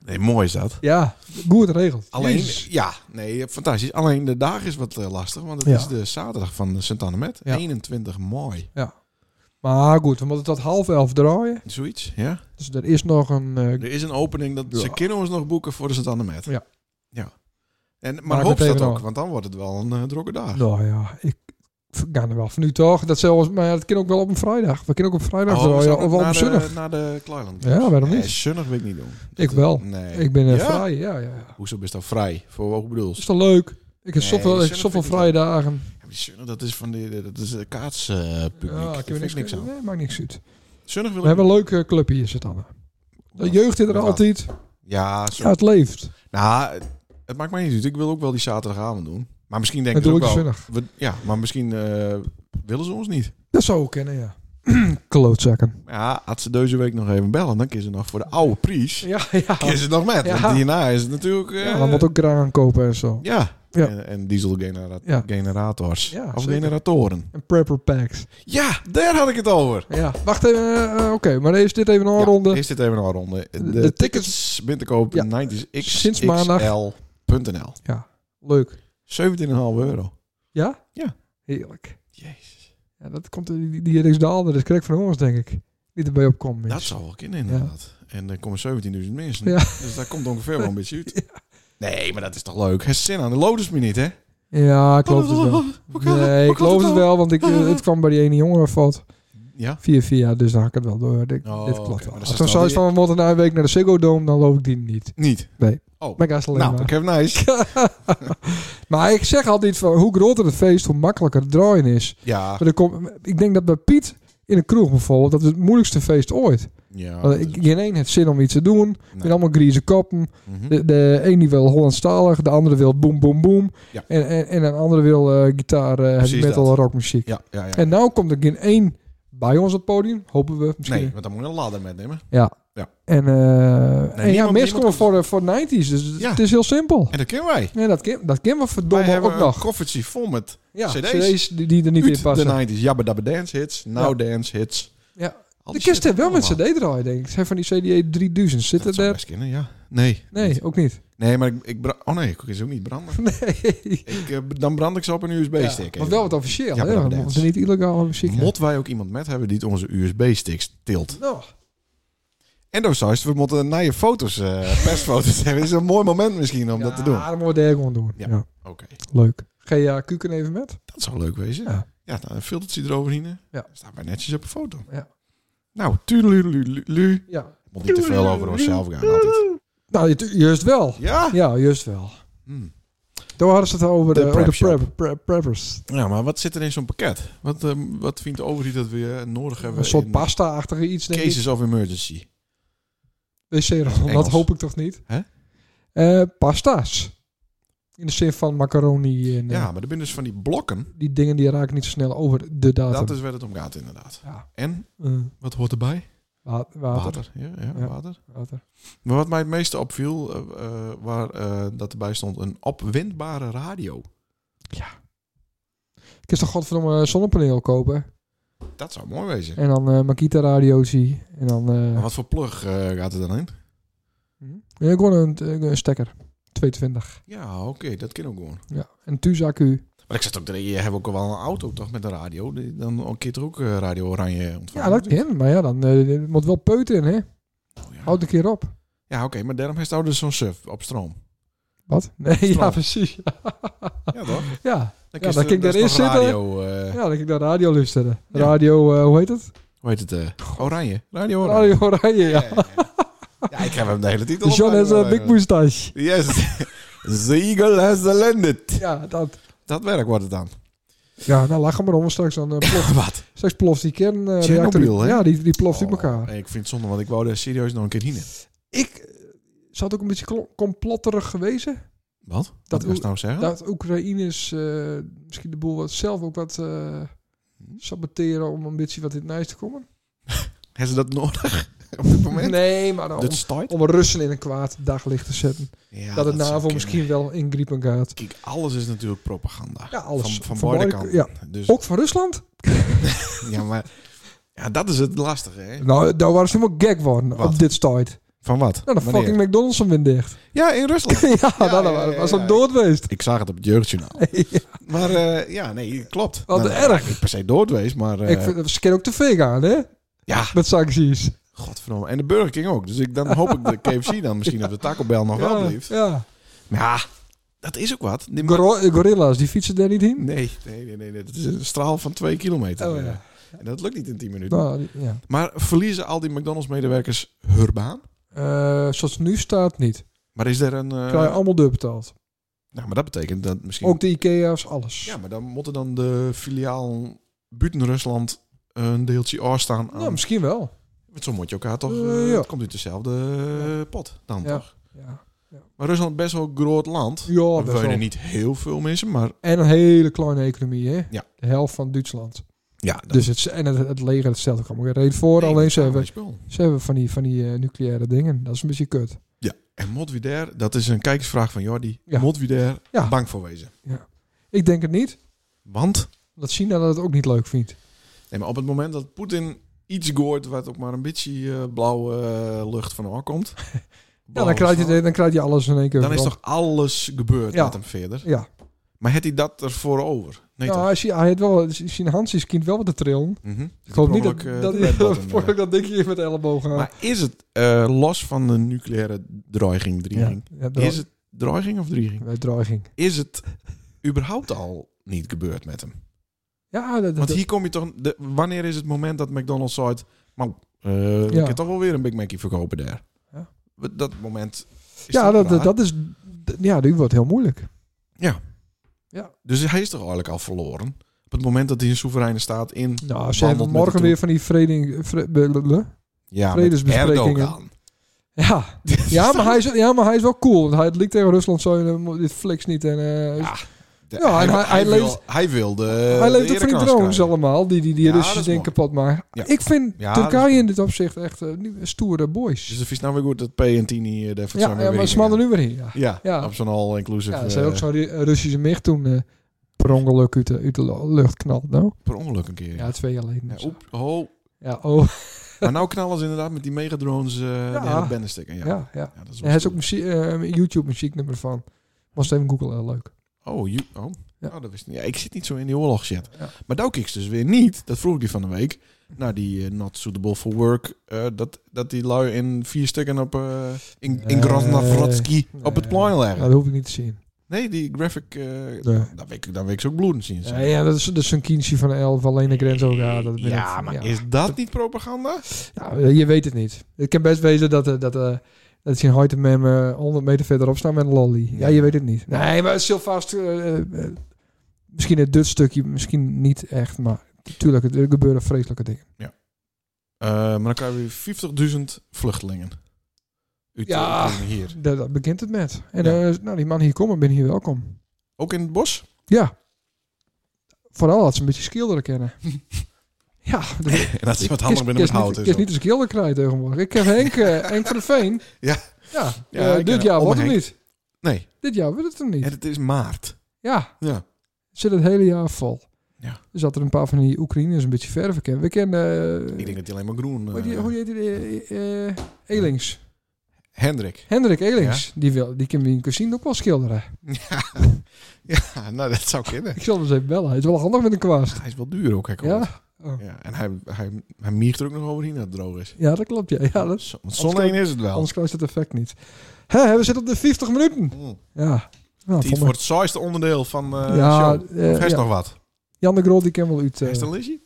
S2: Nee, mooi is dat.
S1: ja, goed geregeld.
S2: Alleen,
S1: Jezus.
S2: ja, nee, fantastisch. Alleen de dag is wat eh, lastig, want het
S1: Ja.
S2: is de zaterdag van sint Annemet.
S1: Ja.
S2: 21 mei,
S1: Maar goed, we moeten tot half elf draaien.
S2: zoiets, ja.
S1: Dus er is nog een eh,
S2: Er is een opening, dat ze
S1: Ja.
S2: kunnen ons nog boeken voor de sint Annemet.
S1: Ja.
S2: ja. En, maar
S1: Maak
S2: hoop
S1: het
S2: dat
S1: even
S2: ook,
S1: af.
S2: want dan wordt het wel een eh, droge dag.
S1: Nou ja, ik ga er wel van nu toch. Dat zelfs, maar dat kan ook wel op een vrijdag. We kunnen ook op vrijdag
S2: Oh, we
S1: draaien
S2: zouden
S1: of op
S2: naar
S1: een zondag.
S2: De, naar de Kleiland.
S1: Ja, waarom
S2: Nee,
S1: niet?
S2: zonnig wil ik niet doen.
S1: Ik wel.
S2: Nee.
S1: Ik ben eh,
S2: Ja?
S1: vrij, ja, ja. ja.
S2: Hoezo best dan vrij? Voor wat ik bedoel.
S1: Is toch leuk? Ik heb
S2: Nee,
S1: zoveel, ik heb
S2: zondag
S1: zoveel
S2: vind ik
S1: vrije dagen.
S2: Ja, maar zonnig, dat is van die, dat is kaatspubliek.
S1: Ja,
S2: Daar
S1: ik heb
S2: vind ik niks aan.
S1: Nee, maakt niks uit.
S2: Zonnig wil
S1: We
S2: ik
S1: hebben een leuke club hier, zit dan. De
S2: Wat?
S1: jeugd is er
S2: Met wat?
S1: altijd.
S2: Ja,
S1: Ja,
S2: zonnig.
S1: het leeft.
S2: Nou, het maakt mij niet uit. Ik wil ook wel die zaterdagavond doen. Maar misschien denken
S1: En
S2: ze
S1: doe
S2: ook
S1: ik
S2: wel...
S1: zonnig.
S2: We, ja, maar misschien eh, willen ze ons niet.
S1: Dat zou ook kennen, ja. Klootzakken.
S2: Ja, had ze deze week nog even bellen, dan kiezen ze nog voor de oude prijs.
S1: Ja, ja.
S2: Kiezen ze nog met.
S1: Ja.
S2: Want hierna is het natuurlijk... eh,
S1: Ja, dan moet ook graan kopen en zo.
S2: Ja.
S1: Ja.
S2: En, en dieselgenerators.
S1: Ja.
S2: Generators.
S1: Ja,
S2: of
S1: zeker.
S2: generatoren.
S1: En prepper packs.
S2: Ja, daar had ik het over.
S1: Ja, wacht even. eh, eh, Oké, maar eerst dit even
S2: Ja,
S1: afronden.
S2: Eerst dit even een ronde. De,
S1: de
S2: tickets binnen te koop
S1: Ja.
S2: 90
S1: Sinds maandag.
S2: 17,5
S1: Leuk.
S2: euro.
S1: Ja?
S2: Ja.
S1: Heerlijk.
S2: Jezus.
S1: Ja, dat komt eh, die, die Riks Daalder is krek van ons, denk ik. Die erbij opkomt.
S2: Dat
S1: mensen.
S2: zou wel kunnen, inderdaad. En er komen 17.000 mensen.
S1: Ja.
S2: Dus daar komt ongeveer wel een beetje uit. Nee, maar dat is toch leuk. Het zin aan de Lotus niet, hè?
S1: Ja, ik geloof het wel.
S2: Hoe kan dat? Hoe
S1: Nee, ik
S2: kan
S1: geloof het
S2: nou?
S1: wel, want ik, eh, het kwam bij die ene jongen fout.
S2: Ja?
S1: Via via, dus dan hak ik het wel door. Dit,
S2: Oh,
S1: dit
S2: oké,
S1: klopt
S2: maar dat is
S1: wel. Als
S2: wel
S1: dan zou je
S2: die-
S1: van, we moeten na een week naar de Ziggo Dome, dan loop ik die niet.
S2: Niet.
S1: Nee.
S2: Oh.
S1: Maar ik ga ze alleen
S2: nou,
S1: maar.
S2: ik heb nice.
S1: Maar ik zeg altijd van, hoe groter het feest, hoe makkelijker het draaien is.
S2: Ja.
S1: Maar er komt, ik denk dat bij Piet in de kroeg bijvoorbeeld, dat is het moeilijkste feest ooit.
S2: ja
S1: Want
S2: dat
S1: ik,
S2: is-
S1: geen één heeft zin om iets te doen. Met
S2: nee.
S1: allemaal grieze koppen.
S2: Mhm.
S1: De, de een die wil Hollandstalig, de andere wil boom, boom, boom.
S2: Ja.
S1: En, en, en een andere wil eh, gitaar, eh, heavy
S2: Precies
S1: metal,
S2: dat.
S1: rockmuziek.
S2: Ja, ja, ja.
S1: En nou komt er geen één bij ons op het podium, hopen we misschien.
S2: Nee, want dan moet je een ladder metnemen.
S1: Ja.
S2: Ja.
S1: En, eh, en ja,
S2: niemand-
S1: mensen komen
S2: niemand-
S1: voor, eh, voor 90s, dus het-
S2: Ja.
S1: het is heel simpel.
S2: En dat kennen wij.
S1: Nee, dat kan, dat kan wel
S2: Wij
S1: verdomme
S2: hebben
S1: ook
S2: een
S1: nog.
S2: koffertje vol met
S1: Ja,
S2: CD's.
S1: CD's, die, die er niet in
S2: uit de
S1: passen.
S2: 90s. Jabba Dabba Dance hits, Now Dance hits.
S1: Ja.
S2: Al
S1: De
S2: die
S1: kist
S2: shit
S1: heeft wel met
S2: allemaal.
S1: CD draaien, denk ik. Ze hebben van die CD 3000. Zit
S2: Dat
S1: er
S2: zou
S1: daar?
S2: best kunnen, ja. Nee. niet.
S1: Nee, ook niet.
S2: Nee, maar ik... ik bra- oh nee, ik kan ze ook niet branden.
S1: Nee.
S2: Ik, eh, dan brand ik ze op een USB-stick.
S1: Maar wel wat officieel,
S2: Ja,
S1: hè?
S2: maar dat
S1: We
S2: dance.
S1: moeten niet illegale muziek hebben.
S2: Mot wij ook iemand met hebben die het onze USB-sticks tilt.
S1: Nou,
S2: En door Seist, we moeten naar je foto's, eh, persfoto's hebben. is een mooi moment misschien om dat te doen.
S1: Ja, dat moeten we daar gewoon doen.
S2: Ja.
S1: Ja.
S2: Oké,
S1: Leuk. Ga je eh, Kuken even met?
S2: dat zou leuk wezen. Ja,
S1: Ja.
S2: dan een filtertje eroverheen. hè.
S1: Ja.
S2: Staat maar netjes op een foto.
S1: Ja.
S2: Nou, tuurlulululu.
S1: Ja.
S2: Moet niet te veel over onszelf gaan altijd.
S1: Nou, ju- juist wel.
S2: Ja?
S1: Ja, juist wel.
S2: Hmm.
S1: Toen hadden ze het over
S2: De
S1: de, over
S2: prep
S1: de
S2: shop.
S1: prep, prep- preppers.
S2: Ja, maar wat zit er in zo'n pakket? Wat, ehm, wat vindt de overheid dat we eh, nodig hebben?
S1: Een soort
S2: in
S1: pasta-achtige iets, denk ik.
S2: Cases of emergency.
S1: Wc-rol,
S2: Engels.
S1: dat hoop ik toch niet?
S2: Hè?
S1: Eh, pasta's. In de zin van macaroni en eh,
S2: Ja, maar er zijn dus van die blokken.
S1: die dingen die raken niet zo snel over de datum.
S2: Dat is waar het om gaat, inderdaad.
S1: Ja.
S2: En,
S1: Eh,
S2: wat hoort erbij?
S1: wa- water. Water.
S2: Water. Ja, ja,
S1: Ja.
S2: water. Maar wat mij het meeste opviel, eh, eh, waar eh, dat erbij stond, een opwindbare radio.
S1: Ik is toch godverdomme een zonnepaneel kopen.
S2: Dat zou mooi wezen.
S1: En dan eh Makita radio zie. En dan... eh,
S2: Maar wat voor plug eh, gaat er dan in?
S1: hm? Nee, gewoon een, een stekker. 220.
S2: Ja, oké, dat kan ook gewoon.
S1: Ja. En Tuzaku.
S2: Maar ik zat ook, te denken, je hebt ook wel een auto toch met een radio? Die- Dan een keer toch ook eh, Radio Oranje ontvangen?
S1: Ja, dat kan. Maar ja, dan eh, er moet wel peuten in, hè?
S2: Oh, ja,
S1: Houd een keer op.
S2: ja oké, maar daarom heeft het dus zo'n surf op stroom.
S1: Wat? Nee, ja,
S2: Stroom.
S1: precies.
S2: Ja, toch?
S1: Ja,
S2: Dan
S1: dan kan ik
S2: dat is
S1: erin
S2: toch
S1: zitten.
S2: Radio, eh,
S1: ja dan kan ik naar radio luisteren.
S2: Ja.
S1: Radio, eh, hoe heet het?
S2: hoe heet het? eh, Oranje. Radio Oranje.
S1: Radio Oranje, ja.
S2: Ja, ja, ja. Ja, ik heb hem de hele titel op.
S1: John has a big moustache.
S2: Yes. The eagle has landed.
S1: Ja, dat.
S2: Dat werk wordt het dan.
S1: Ja, nou lachen maar om. Straks, dan, eh, ploft,
S2: Wat?
S1: straks ploft die kernreactor.
S2: Chernobyl, hè? Oh.
S1: ja, die, die ploft uit elkaar.
S2: ik vind het zonde, want ik wou er serieus nog een keer heen.
S1: Ik eh, zat ook een beetje klo- complotterig geweest.
S2: Wat? Dat
S1: Dat
S2: wil
S1: wil
S2: ik nou zeggen?
S1: Dat Oekraïners eh, misschien de boel wat, zelf ook wat eh,
S2: Hm?
S1: saboteren om een beetje wat in het nice te komen.
S2: Hebben ze dat nodig op dit moment?
S1: Nee, maar om,
S2: Dat start?
S1: om Russen in een kwaad daglicht te zetten.
S2: Ja,
S1: dat het
S2: zou
S1: NAVO
S2: kunnen.
S1: misschien wel ingriepen gaat.
S2: Kijk, alles is natuurlijk propaganda.
S1: Ja, alles.
S2: Van, van,
S1: Van
S2: beide
S1: beide-
S2: kanten. Dus,
S1: Ook van Rusland?
S2: ja, maar ja, dat is het lastige, hè?
S1: Nou, daar waren ze helemaal gek worden
S2: Wat?
S1: op dit tijd.
S2: Van wat?
S1: Nou, de
S2: Wanneer?
S1: fucking McDonald's hem weer dicht.
S2: Ja, in Rusland.
S1: ja, nou, dat
S2: ja,
S1: was-
S2: ja,
S1: was
S2: ja,
S1: hem
S2: ja.
S1: dood geweest.
S2: ik zag het op het jeugdjournaal.
S1: Ja.
S2: Maar eh, ja, nee, klopt.
S1: Wat
S2: Nou,
S1: erg.
S2: Niet per se doodwees, maar... eh,
S1: Ik vind, ze kennen ook tv gaan, hè?
S2: Ja,
S1: Met sancties.
S2: godverdomme. En de Burger King ook. Dus ik, dan hoop ik de KFC dan misschien of de Taco Bell nog wel
S1: ja,
S2: blijft.
S1: ja.
S2: Ja, dat is ook wat. Die ma-
S1: Goro- gorilla's, die fietsen daar niet in?
S2: nee, nee, nee, nee, dat is een straal van twee kilometer.
S1: Oh, ja.
S2: En dat lukt niet in 10 minuten.
S1: Nou, die- ja.
S2: Maar verliezen al die McDonald's-medewerkers hun baan?
S1: Eh, zoals het nu staat, niet.
S2: Maar is er een... eh,
S1: Krijg je allemaal doorbetaald.
S2: nou, maar dat betekent dat misschien...
S1: Ook de Ikea's, alles.
S2: Ja, maar dan moeten dan de filiaal buiten Rusland een deeltje afstaan aan...
S1: Nou, misschien wel.
S2: Want zo moet je elkaar toch...
S1: Eh,
S2: eh,
S1: ja.
S2: Het komt uit dezelfde eh, pot dan
S1: Ja.
S2: toch?
S1: Ja,
S2: Maar Rusland is best wel een groot land.
S1: ja
S2: We
S1: best wel.
S2: wonen niet heel veel mensen, maar...
S1: En een hele kleine economie, hè?
S2: Ja.
S1: De helft van Duitsland.
S2: Ja, dat
S1: Dus het, en het, het leger, dat stelt ook allemaal geen reden voor. alleen ze hebben,
S2: spul.
S1: ze hebben van die, van die eh, nucleaire dingen. Dat is een beetje kut.
S2: En Modwider, dat is een kijkersvraag van Jordi.
S1: Ja.
S2: Modwider,
S1: Ja.
S2: bang voor wezen.
S1: Ik denk het niet.
S2: Want
S1: Dat China dat ook niet leuk vindt.
S2: nee, maar op het moment dat Poetin iets gooit wat ook maar een beetje eh, blauwe eh, lucht van haar komt,
S1: Ja,
S2: blauwe
S1: dan krijg,
S2: straal,
S1: je, dan krijg je alles in één keer.
S2: dan is
S1: rond.
S2: toch alles gebeurd
S1: Ja.
S2: met hem verder.
S1: Ja.
S2: Maar had hij dat ervoor over? Nee,
S1: ja,
S2: toch?
S1: hij, zie- hij heeft wel... Zijn Hansies kind wel wat te trillen.
S2: Mhm.
S1: Ik hoop niet dat...
S2: Pronkelijk, eh,
S1: dat,
S2: de red button, eh.
S1: voor ik dat dikje met de elleboog aan.
S2: Maar is het eh, los van de nucleaire dreiging,
S1: ja,
S2: dreiging
S1: ja, dro-
S2: is het dreiging of dreiging?
S1: eh, dreiging.
S2: Is het überhaupt al niet gebeurd met hem?
S1: Ja, dat, dat,
S2: Want hier kom je toch. De, wanneer is het moment dat McDonald's zegt. Maar eh ik
S1: Ja.
S2: kan toch wel weer een Big Mac'ie verkopen daar?
S1: Ja.
S2: Dat moment. Is
S1: ja,
S2: toch
S1: dat, dat,
S2: raar?
S1: dat is... d- Ja, nu wordt het heel moeilijk. Nou,
S2: Dus hij is toch eigenlijk al verloren? Op het moment dat hij een soevereine staat in.
S1: Nou,
S2: wandelt
S1: ze hebben
S2: met de
S1: morgen weer van die vreding... vre- blablabla.
S2: ja, met
S1: vredesbesprekingen.
S2: Erdogan.
S1: Ja. Ja, maar hij is, ja, maar hij is wel cool. Want hij het liep tegen Rusland zo en eh, dit fliks niet. En, eh,
S2: Ja, eh, De-
S1: Ja, en hij- hij
S2: wil-
S1: leeft-
S2: hij wilde
S1: Hij leeft ook van die drones allemaal, die, die, die
S2: Ja, dat
S1: Russische
S2: is
S1: dingen
S2: mooi.
S1: kapot maken.
S2: Ja.
S1: Ik vind
S2: Ja, dat is
S1: Turkije
S2: mooi.
S1: in dit opzicht echt eh, nieuwe, stoere
S2: Dus
S1: boys.
S2: de vies nou weer goed dat P en Tini hier de
S1: Ja, ja, maar ze mannen nu weer in. Ja,
S2: Ja,
S1: Ja.
S2: op zo'n eh, all-inclusive
S1: ja
S2: ja,
S1: er zijn ook zo'n Ru- Russische mich toen eh, per ongeluk uit de, uit de lu- lucht knalt. Nou,
S2: per ongeluk een keer.
S1: ja, twee jaar geleden.
S2: Ja,
S1: of zo.
S2: oep, ho.
S1: Ja, oh,
S2: Maar nou knallen ze inderdaad met die megadrones eh de hele benden stikken. Ja.
S1: ja, ja. ja.
S2: Ja, dat is wel
S1: Hij heeft ook
S2: stoer.
S1: muzie- eh, YouTube muzieknummer van. Was even Google heel leuk.
S2: Oh, you, oh.
S1: Ja.
S2: Oh, dat wist ik niet. Ja, ik zit niet zo in die oorlogshit.
S1: Ja.
S2: Maar daar kiks dus weer niet. Dat vroeg ik die van de week. Naar die eh, Not Suitable for Work. eh, dat, dat die lui in vier stukken op, eh, in, in
S1: Nee.
S2: Grosnavrotsky op het
S1: Nee.
S2: plein leggen.
S1: Nou, dat hoef ik niet te zien.
S2: Nee, die graphic... eh Dan weet ik, dan weet ik ze ook bloedend zien.
S1: Ja,
S2: zijn.
S1: ja, dat is, dat is een kindje van 11, alleen de grens ook. Ja, dat ben ik-
S2: Ja, maar is dat niet propaganda?
S1: Ja, je weet het niet. Het kan best wezen dat, eh, dat, eh dat ze in Hoytemem eh 100 meter verderop staan met een lolly. Ja, je weet het niet. Nee, maar het is heel vast. eh, eh, eh, misschien het Dutch stukje, misschien niet echt. Maar tuurlijk, er gebeuren vreselijke dingen.
S2: Eh, maar dan krijgen we 50.000 vluchtelingen. Uit,
S1: Ja.
S2: eh, hier.
S1: Daar, daar begint het met. En
S2: Ja.
S1: eh, nou, die man hier komen, ben hier welkom.
S2: Ook in het bos?
S1: Ja. Vooral dat ze een beetje schilderen kennen. ja, dat
S2: En dat is wat handig binnen met hout.
S1: Ik
S2: en
S1: is
S2: zo.
S1: niet een schilder krijgen tegenwoordig. Ik heb Henk, eh, Henk van de Veen.
S2: Ja.
S1: Ja,
S2: Ja,
S1: eh,
S2: ik ken
S1: dit
S2: hem.
S1: jaar
S2: Om
S1: wordt het
S2: Henk.
S1: niet.
S2: Nee,
S1: Dit jaar wordt het hem niet.
S2: en het is maart.
S1: Ja.
S2: Ja.
S1: Zit het hele jaar vol.
S2: Ja.
S1: Er zat er een paar van die Oekraïners een beetje verven kennen. We kennen... eh,
S2: Ik denk dat hij alleen maar groen...
S1: hoe, die,
S2: eh,
S1: hoe heet die? eh, eh, Elings.
S2: Hendrik.
S1: Hendrik Elings. Die, wil, die kan we in een casino ook wel schilderen.
S2: Ja. ja, nou dat zou kunnen.
S1: Ik zal hem eens even bellen. Hij is wel handig met een kwaast.
S2: Hij is wel duur ook, hè?
S1: Ja?
S2: Ja. ja. En hij, hij, hij miegt er ook nog overheen dat het droog is.
S1: Ja, dat klopt. Ja, ja dat,
S2: Zo- Want zonne is het wel.
S1: anders krijg je het effect niet. Hè, we zitten op de 50 minuten.
S2: Mm.
S1: Ja. Nou,
S2: Het
S1: vond
S2: wordt
S1: me-
S2: het saaiste onderdeel van eh
S1: ja,
S2: de show.
S1: eh,
S2: Of hij is
S1: ja.
S2: nog wat?
S1: Jan de Grol, die ken wel uit... eh,
S2: Hij is een lisje?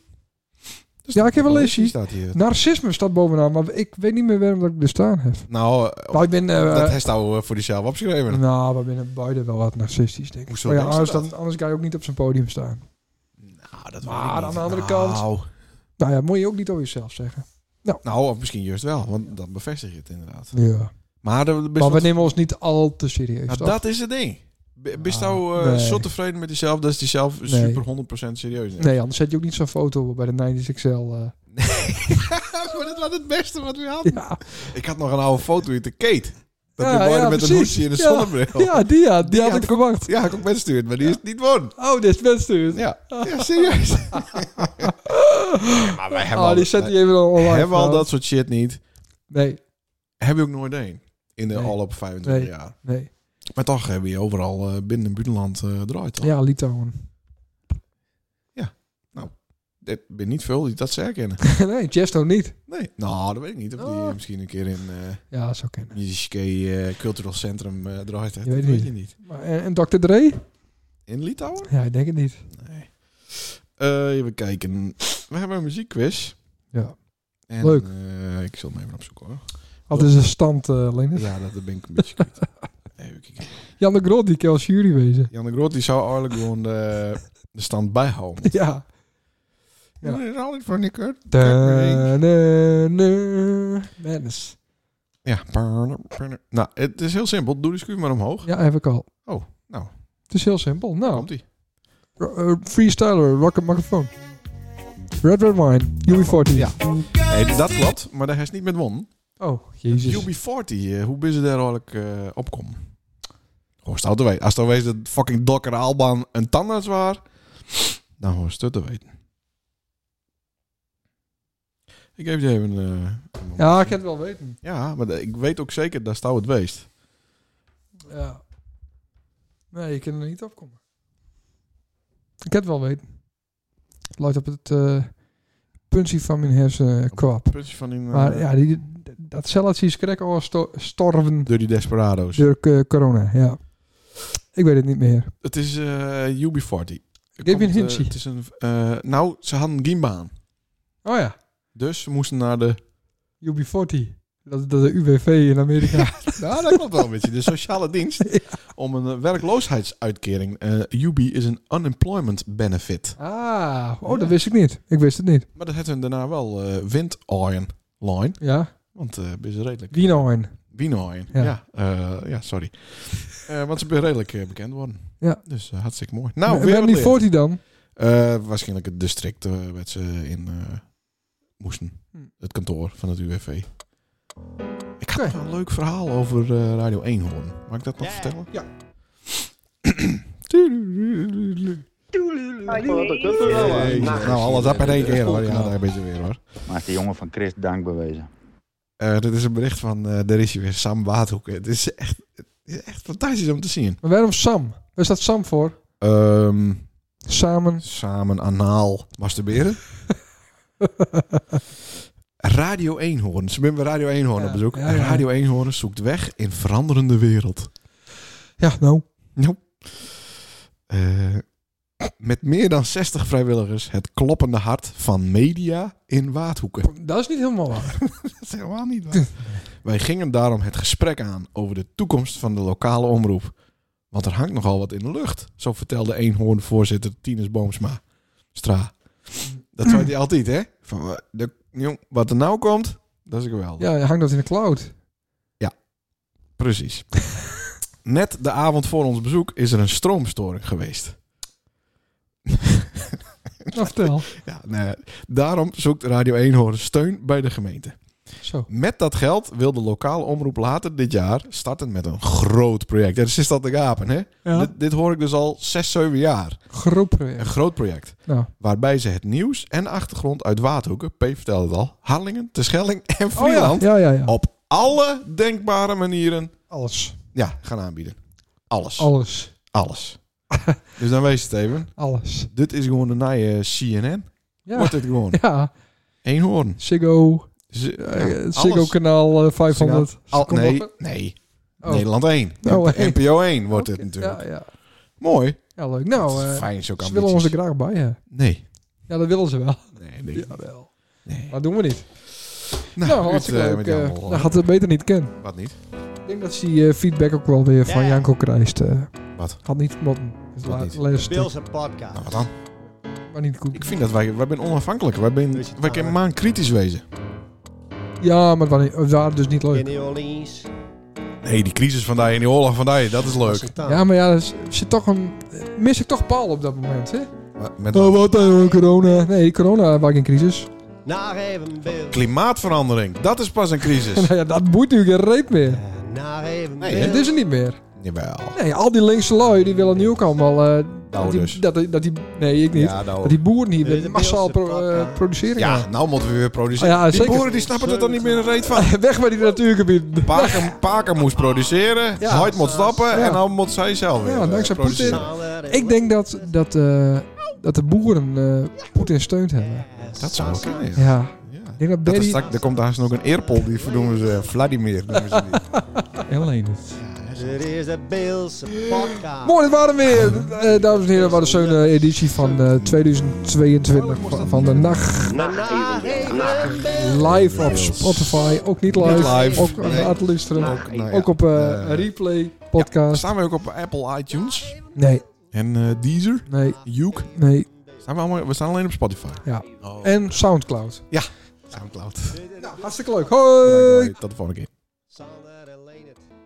S1: Ja, ik heb een lisje.
S2: staat hier.
S1: narcisme staat bovenaan, maar ik weet niet meer waarom dat ik bestaan heb.
S2: Nou, eh,
S1: Maar ik ben... eh,
S2: dat heeft nou eh, voor diezelf opgeschreven.
S1: Nou, we binnen beide wel wat narcistisch, denk ik.
S2: Hoezo
S1: Maar ja,
S2: denk je
S1: anders,
S2: dat?
S1: dan, anders kan je ook niet op zijn podium staan.
S2: Nou, dat weet
S1: Maar
S2: ik
S1: aan
S2: niet.
S1: de andere kant-
S2: Nou,
S1: Nou ja, moet je ook niet over jezelf zeggen.
S2: nou, of misschien juist wel, want dat bevestigt het inderdaad.
S1: Ja.
S2: Maar, er, best
S1: Maar we
S2: wel-
S1: nemen ons niet al te serieus.
S2: Nou,
S1: toch?
S2: dat is het ding. B- Bist
S1: Ah,
S2: nou eh,
S1: nee.
S2: zo tevreden met jezelf dat je jezelf super 100% serieus neemt?
S1: Nee, anders zet je ook niet zo'n foto op bij de 90s XL. eh.
S2: maar dat was het beste wat we hadden.
S1: Ja.
S2: Ik had nog een oude foto in de Kate. Dat
S1: Ja,
S2: die boy
S1: ja,
S2: er met een
S1: precies.
S2: hoesje en een
S1: Ja.
S2: zonnebril. Ja,
S1: ja, die, ja, die, had
S2: had
S1: ik verwacht.
S2: ik ook weggestuurd, maar die is niet won.
S1: Oh, dit is best duur.
S2: Ja, ja serieus. maar wij hebben,
S1: Oh,
S2: al,
S1: die zet hij even online.
S2: hebben al
S1: Nou,
S2: dat soort shit niet.
S1: Nee,
S2: Heb je ook nooit één. In de
S1: Nee.
S2: al op 25
S1: Nee.
S2: jaar.
S1: nee.
S2: Maar toch hebben je overal eh, binnen en buitenland eh draait. Toch?
S1: Ja, Litouwen.
S2: Ik ben niet veel die dat zeggen.
S1: nee, Chesto niet.
S2: Nee. Nou, dat weet ik niet. Of die
S1: Oh.
S2: misschien een keer in... eh,
S1: Ja, zo kennen.
S2: Jiske Cultureel Centrum eh, draait. het.
S1: Je weet
S2: dat
S1: het
S2: weet je niet.
S1: Maar, en, en Dr. Dre?
S2: In Litouwen?
S1: Ja, ik denk het niet.
S2: Nee. Eh even kijken. We hebben een muziekquiz.
S1: Ja.
S2: En,
S1: Leuk.
S2: eh, ik zal hem even opzoeken hoor.
S1: Altijd is een stand, eh Lennon.
S2: Ja, dat ben ik een beetje kwijt. Even kijken.
S1: Jan de Grot, die kan als jury wezen.
S2: Jan de Groot die zou eigenlijk gewoon de, de stand bijhouden.
S1: Ja. Ja.
S2: Dat is altijd voor Nick hoor.
S1: Da, da, da. Madness.
S2: Ja. Nou, het is heel simpel. Doe de schuur maar omhoog.
S1: Ja, heb ik al.
S2: Oh, nou.
S1: Het is heel simpel. Nou,
S2: Komt ie.
S1: ro- eh, freestyler, rocket microfoon. Red Red Wine, UB40.
S2: Ja. Nee, dat klopt, maar daar is niet met won.
S1: Oh, jezus.
S2: UB40, eh, hoe ben ze daar eigenlijk eh opkomen? Hoor het te weten. Als het wees dat fucking Dokker Alban een tandarts was, dan hoor het te weten. Ik geef je even... eh, een moment.
S1: Ja, ik kan het wel weten.
S2: Ja, maar ik weet ook zeker dat Stouw het weest.
S1: Ja. Nee, je kan er niet opkomen. Ik kan het wel weten. Het lijkt op het eh puntje van mijn hersen kwap.
S2: Puntje van eh, in
S1: Maar ja, die, dat zellatie is krek al sto- storven
S2: Dirty Desperados.
S1: door eh, corona. Ja. Ik weet het niet meer.
S2: Het is eh, UB40.
S1: Geef je een
S2: Komt, eh,
S1: hintje.
S2: Het is een... eh, nou, ze hadden geen baan.
S1: Oh ja.
S2: Dus ze moesten naar de...
S1: UB40. Dat, dat de UWV in Amerika.
S2: Nou, dat klopt wel een beetje. De sociale dienst. Om een eh, werkloosheidsuitkering. Eh, UB is een unemployment benefit.
S1: Ah, oh,
S2: Ja.
S1: dat wist ik niet. Ik wist het niet.
S2: Maar dat heeft hun daarna wel eh wind line.
S1: Ja,
S2: Want eh ben ze redelijk...
S1: Wienerhoorn.
S2: Wien ja.
S1: Ja.
S2: Ja, eh, ja, sorry. Eh, want ze zijn redelijk eh, bekend worden.
S1: Ja.
S2: Dus eh, hartstikke mooi.
S1: Nou,
S2: Nou,
S1: ben je
S2: weer
S1: niet
S2: niet
S1: voor die dan?
S2: Eh, waarschijnlijk het district eh, werd ze in eh, moesten.
S1: Hm.
S2: Het kantoor van het UWV. Ik
S1: Oké.
S2: had nog een leuk verhaal over eh, Radio 1 horen. Mag ik dat nog
S3: Ja.
S2: vertellen?
S1: Ja.
S2: Jeetje.
S4: Nou,
S2: nou, alles op in één keer hoor. Ja,
S1: knap.
S2: daar ben je weer hoor.
S6: Maar is de jongen van Chris dankbewezen.
S2: Eh, dit is een bericht van, eh daar is hij weer, Sam Waadhoek. Het is echt, het is echt fantastisch om te zien.
S1: Maar waarom Sam? Waar staat Sam voor?
S2: Ehm,
S1: Samen.
S2: samen anaal masturberen. Radio Eenhoorn. Ze zijn bij Radio Eenhoorn
S1: Ja,
S2: op bezoek.
S1: ja, ja.
S2: Radio Eenhoorn zoekt weg in veranderende wereld.
S1: Ja, nou.
S2: Nope. Eh, met meer dan 60 vrijwilligers het kloppende hart van media in Waadhoeken.
S1: Dat is niet helemaal waar.
S2: Dat is helemaal niet waar. Wij gingen daarom het gesprek aan over de toekomst van de lokale omroep. Want er hangt nogal wat in de lucht, zo vertelde eenhoornvoorzitter Tinus Boomsma. Stra. Dat zei hij altijd, hè? Van, eh, de, jong, wat er nou komt, dat is geweldig.
S1: Ja, hangt dat in de cloud.
S2: Precies. Net de avond voor ons bezoek is er een stroomstoring geweest.
S1: Nou, vertel.
S2: Ja, nou, daarom zoekt Radio Eenhoorn steun bij de gemeente.
S1: Zo.
S2: Met dat geld wil de lokale omroep later dit jaar starten met een groot project. Ja, dus is dat de gapen, hè?
S1: Ja.
S2: Dit, dit hoor ik dus al 6, 7 jaar.
S1: Groot
S2: Een
S1: project.
S2: groot project.
S1: Nou.
S2: Waarbij ze het nieuws en achtergrond uit Waadhoeken, P vertelde het al, Harlingen, Terschelling en
S1: Oh ja,
S2: Friesland
S1: ja, ja. ja.
S2: op alle denkbare manieren
S1: Alles.
S2: ja, gaan aanbieden. Alles.
S1: Oh. Alles.
S2: Alles. dus dan wees het even.
S1: Alles.
S2: Dit is gewoon de nieuwe CNN.
S1: Ja.
S2: Wordt het gewoon.
S1: Ja.
S2: Eenhoorn.
S1: Ziggo.
S2: Z- ja,
S1: eh,
S2: alles.
S1: Ziggo kanaal eh, 500.
S2: Al,
S1: Kom
S2: nee,
S1: op.
S2: nee.
S1: Oh.
S2: Nederland 1.
S1: Nou, hey.
S2: NPO 1 wordt het
S1: Oké,
S2: natuurlijk.
S1: Ja, ja.
S2: Mooi.
S1: ja, leuk. Nou, eh,
S2: Fijn, zo kan dus.
S1: ze willen ons er graag bij hebben.
S2: Nee.
S1: Ja, dat willen ze wel.
S2: Nee, nee.
S1: Jawel.
S2: nee.
S1: Maar doen we niet.
S2: Nou,
S1: nou,
S2: goed,
S1: hartstikke
S2: eh,
S1: leuk.
S2: met jou
S1: eh,
S2: allemaal.
S1: dan gaat het beter niet kennen.
S2: Wat niet?
S1: Ik denk dat ze die, eh, feedback ook wel weer van
S3: Ja.
S1: Janko krijgt. eh.
S2: Wat?
S1: Had niet motten. Het
S2: Wat
S1: la-
S2: niet?
S1: laatste stuk,
S3: Bills een podcast.
S2: Nou, wat dan?
S1: maar niet goed.
S2: Ik vind dat wij, wij zijn onafhankelijk. Wij, zijn,
S3: Dus je
S2: wij
S3: taal,
S2: kunnen
S3: hè?
S2: maar kritisch wezen.
S1: Ja, maar wanneer, het waren dus niet
S3: In
S1: leuk.
S3: New Orleans.
S2: Nee, die crisis vandaag en die oorlog vandaag, dat is leuk.
S3: Sultan.
S1: Ja, maar ja, er is- zit toch een, eh, mis ik toch Paul op dat moment, hè?
S2: Maar Met
S1: Oh, wat dan, corona. Nee, corona was geen crisis.
S3: Naar even Bills.
S2: klimaatverandering, dat is pas een crisis.
S1: nou ja, dat boeit nu geen reet meer.
S3: Eh, Naar even
S2: Nee,
S1: Het
S3: Bills.
S1: is er niet meer.
S2: Jawel.
S1: Nee, al die linkse lui, die willen nu ook allemaal... eh, dat, die,
S2: dus.
S1: dat, die- dat die... Nee, ik niet.
S2: Ja,
S1: Dat
S2: nou.
S1: die boeren hier
S3: Dit is
S1: weer
S3: een
S1: massaal
S3: Beelse
S1: pro- eh,
S3: podcast.
S1: produceren.
S2: Ja,
S1: gaan.
S2: nou moeten we weer produceren.
S1: Oh ja,
S2: die
S1: zeker.
S2: boeren die snappen er dan niet meer een reet van.
S1: Weg met die natuurgebieden.
S2: Paken, Paken moest produceren,
S1: Ja.
S2: Hoyt moet stappen
S1: Ja.
S2: en nou moet zij zelf weer
S1: Ja,
S2: eh,
S1: dankzij
S2: produceren.
S1: Poetin.
S3: Salar en
S1: Ik denk dat, dat, eh, dat de boeren eh Poetin steunt hebben.
S3: Leiden.
S2: Dat zou ook
S3: Sasa.
S2: kunnen, ja.
S1: Ja.
S2: Ja.
S1: Ik denk dat
S2: Dat is
S1: Berry...
S2: straks, er komt daar nog een eerpol, die vernoemen ze eh, Vladimir. Noemen ze die.
S1: Alleen
S3: Dit is de Bills podcast.
S1: Mooi, dat waren we weer. Eh, dames en heren, we hadden zo'n eh, editie van eh, 2022 van, van de nacht.
S4: Nacht,
S3: Naar
S4: even.
S3: even
S4: Nacht.
S3: Bills.
S1: Live op Spotify. Ook niet live.
S2: Niet live,
S1: Ook aan
S2: nee.
S1: het luisteren.
S4: Ook,
S2: nou ja.
S1: Ook op eh,
S2: Eh,
S1: replay,
S2: Dan
S1: podcast.
S2: Staan we ook op Apple iTunes
S1: Nee,
S2: en eh, Deezer,
S1: nee,
S2: Juke.
S1: nee.
S2: Staan we, allemaal, we staan alleen op Spotify.
S1: Ja.
S2: Oh.
S1: En Soundcloud.
S2: Soundcloud.
S1: Hartstikke leuk. Hoi!
S2: Tot de volgende keer.
S3: Salar en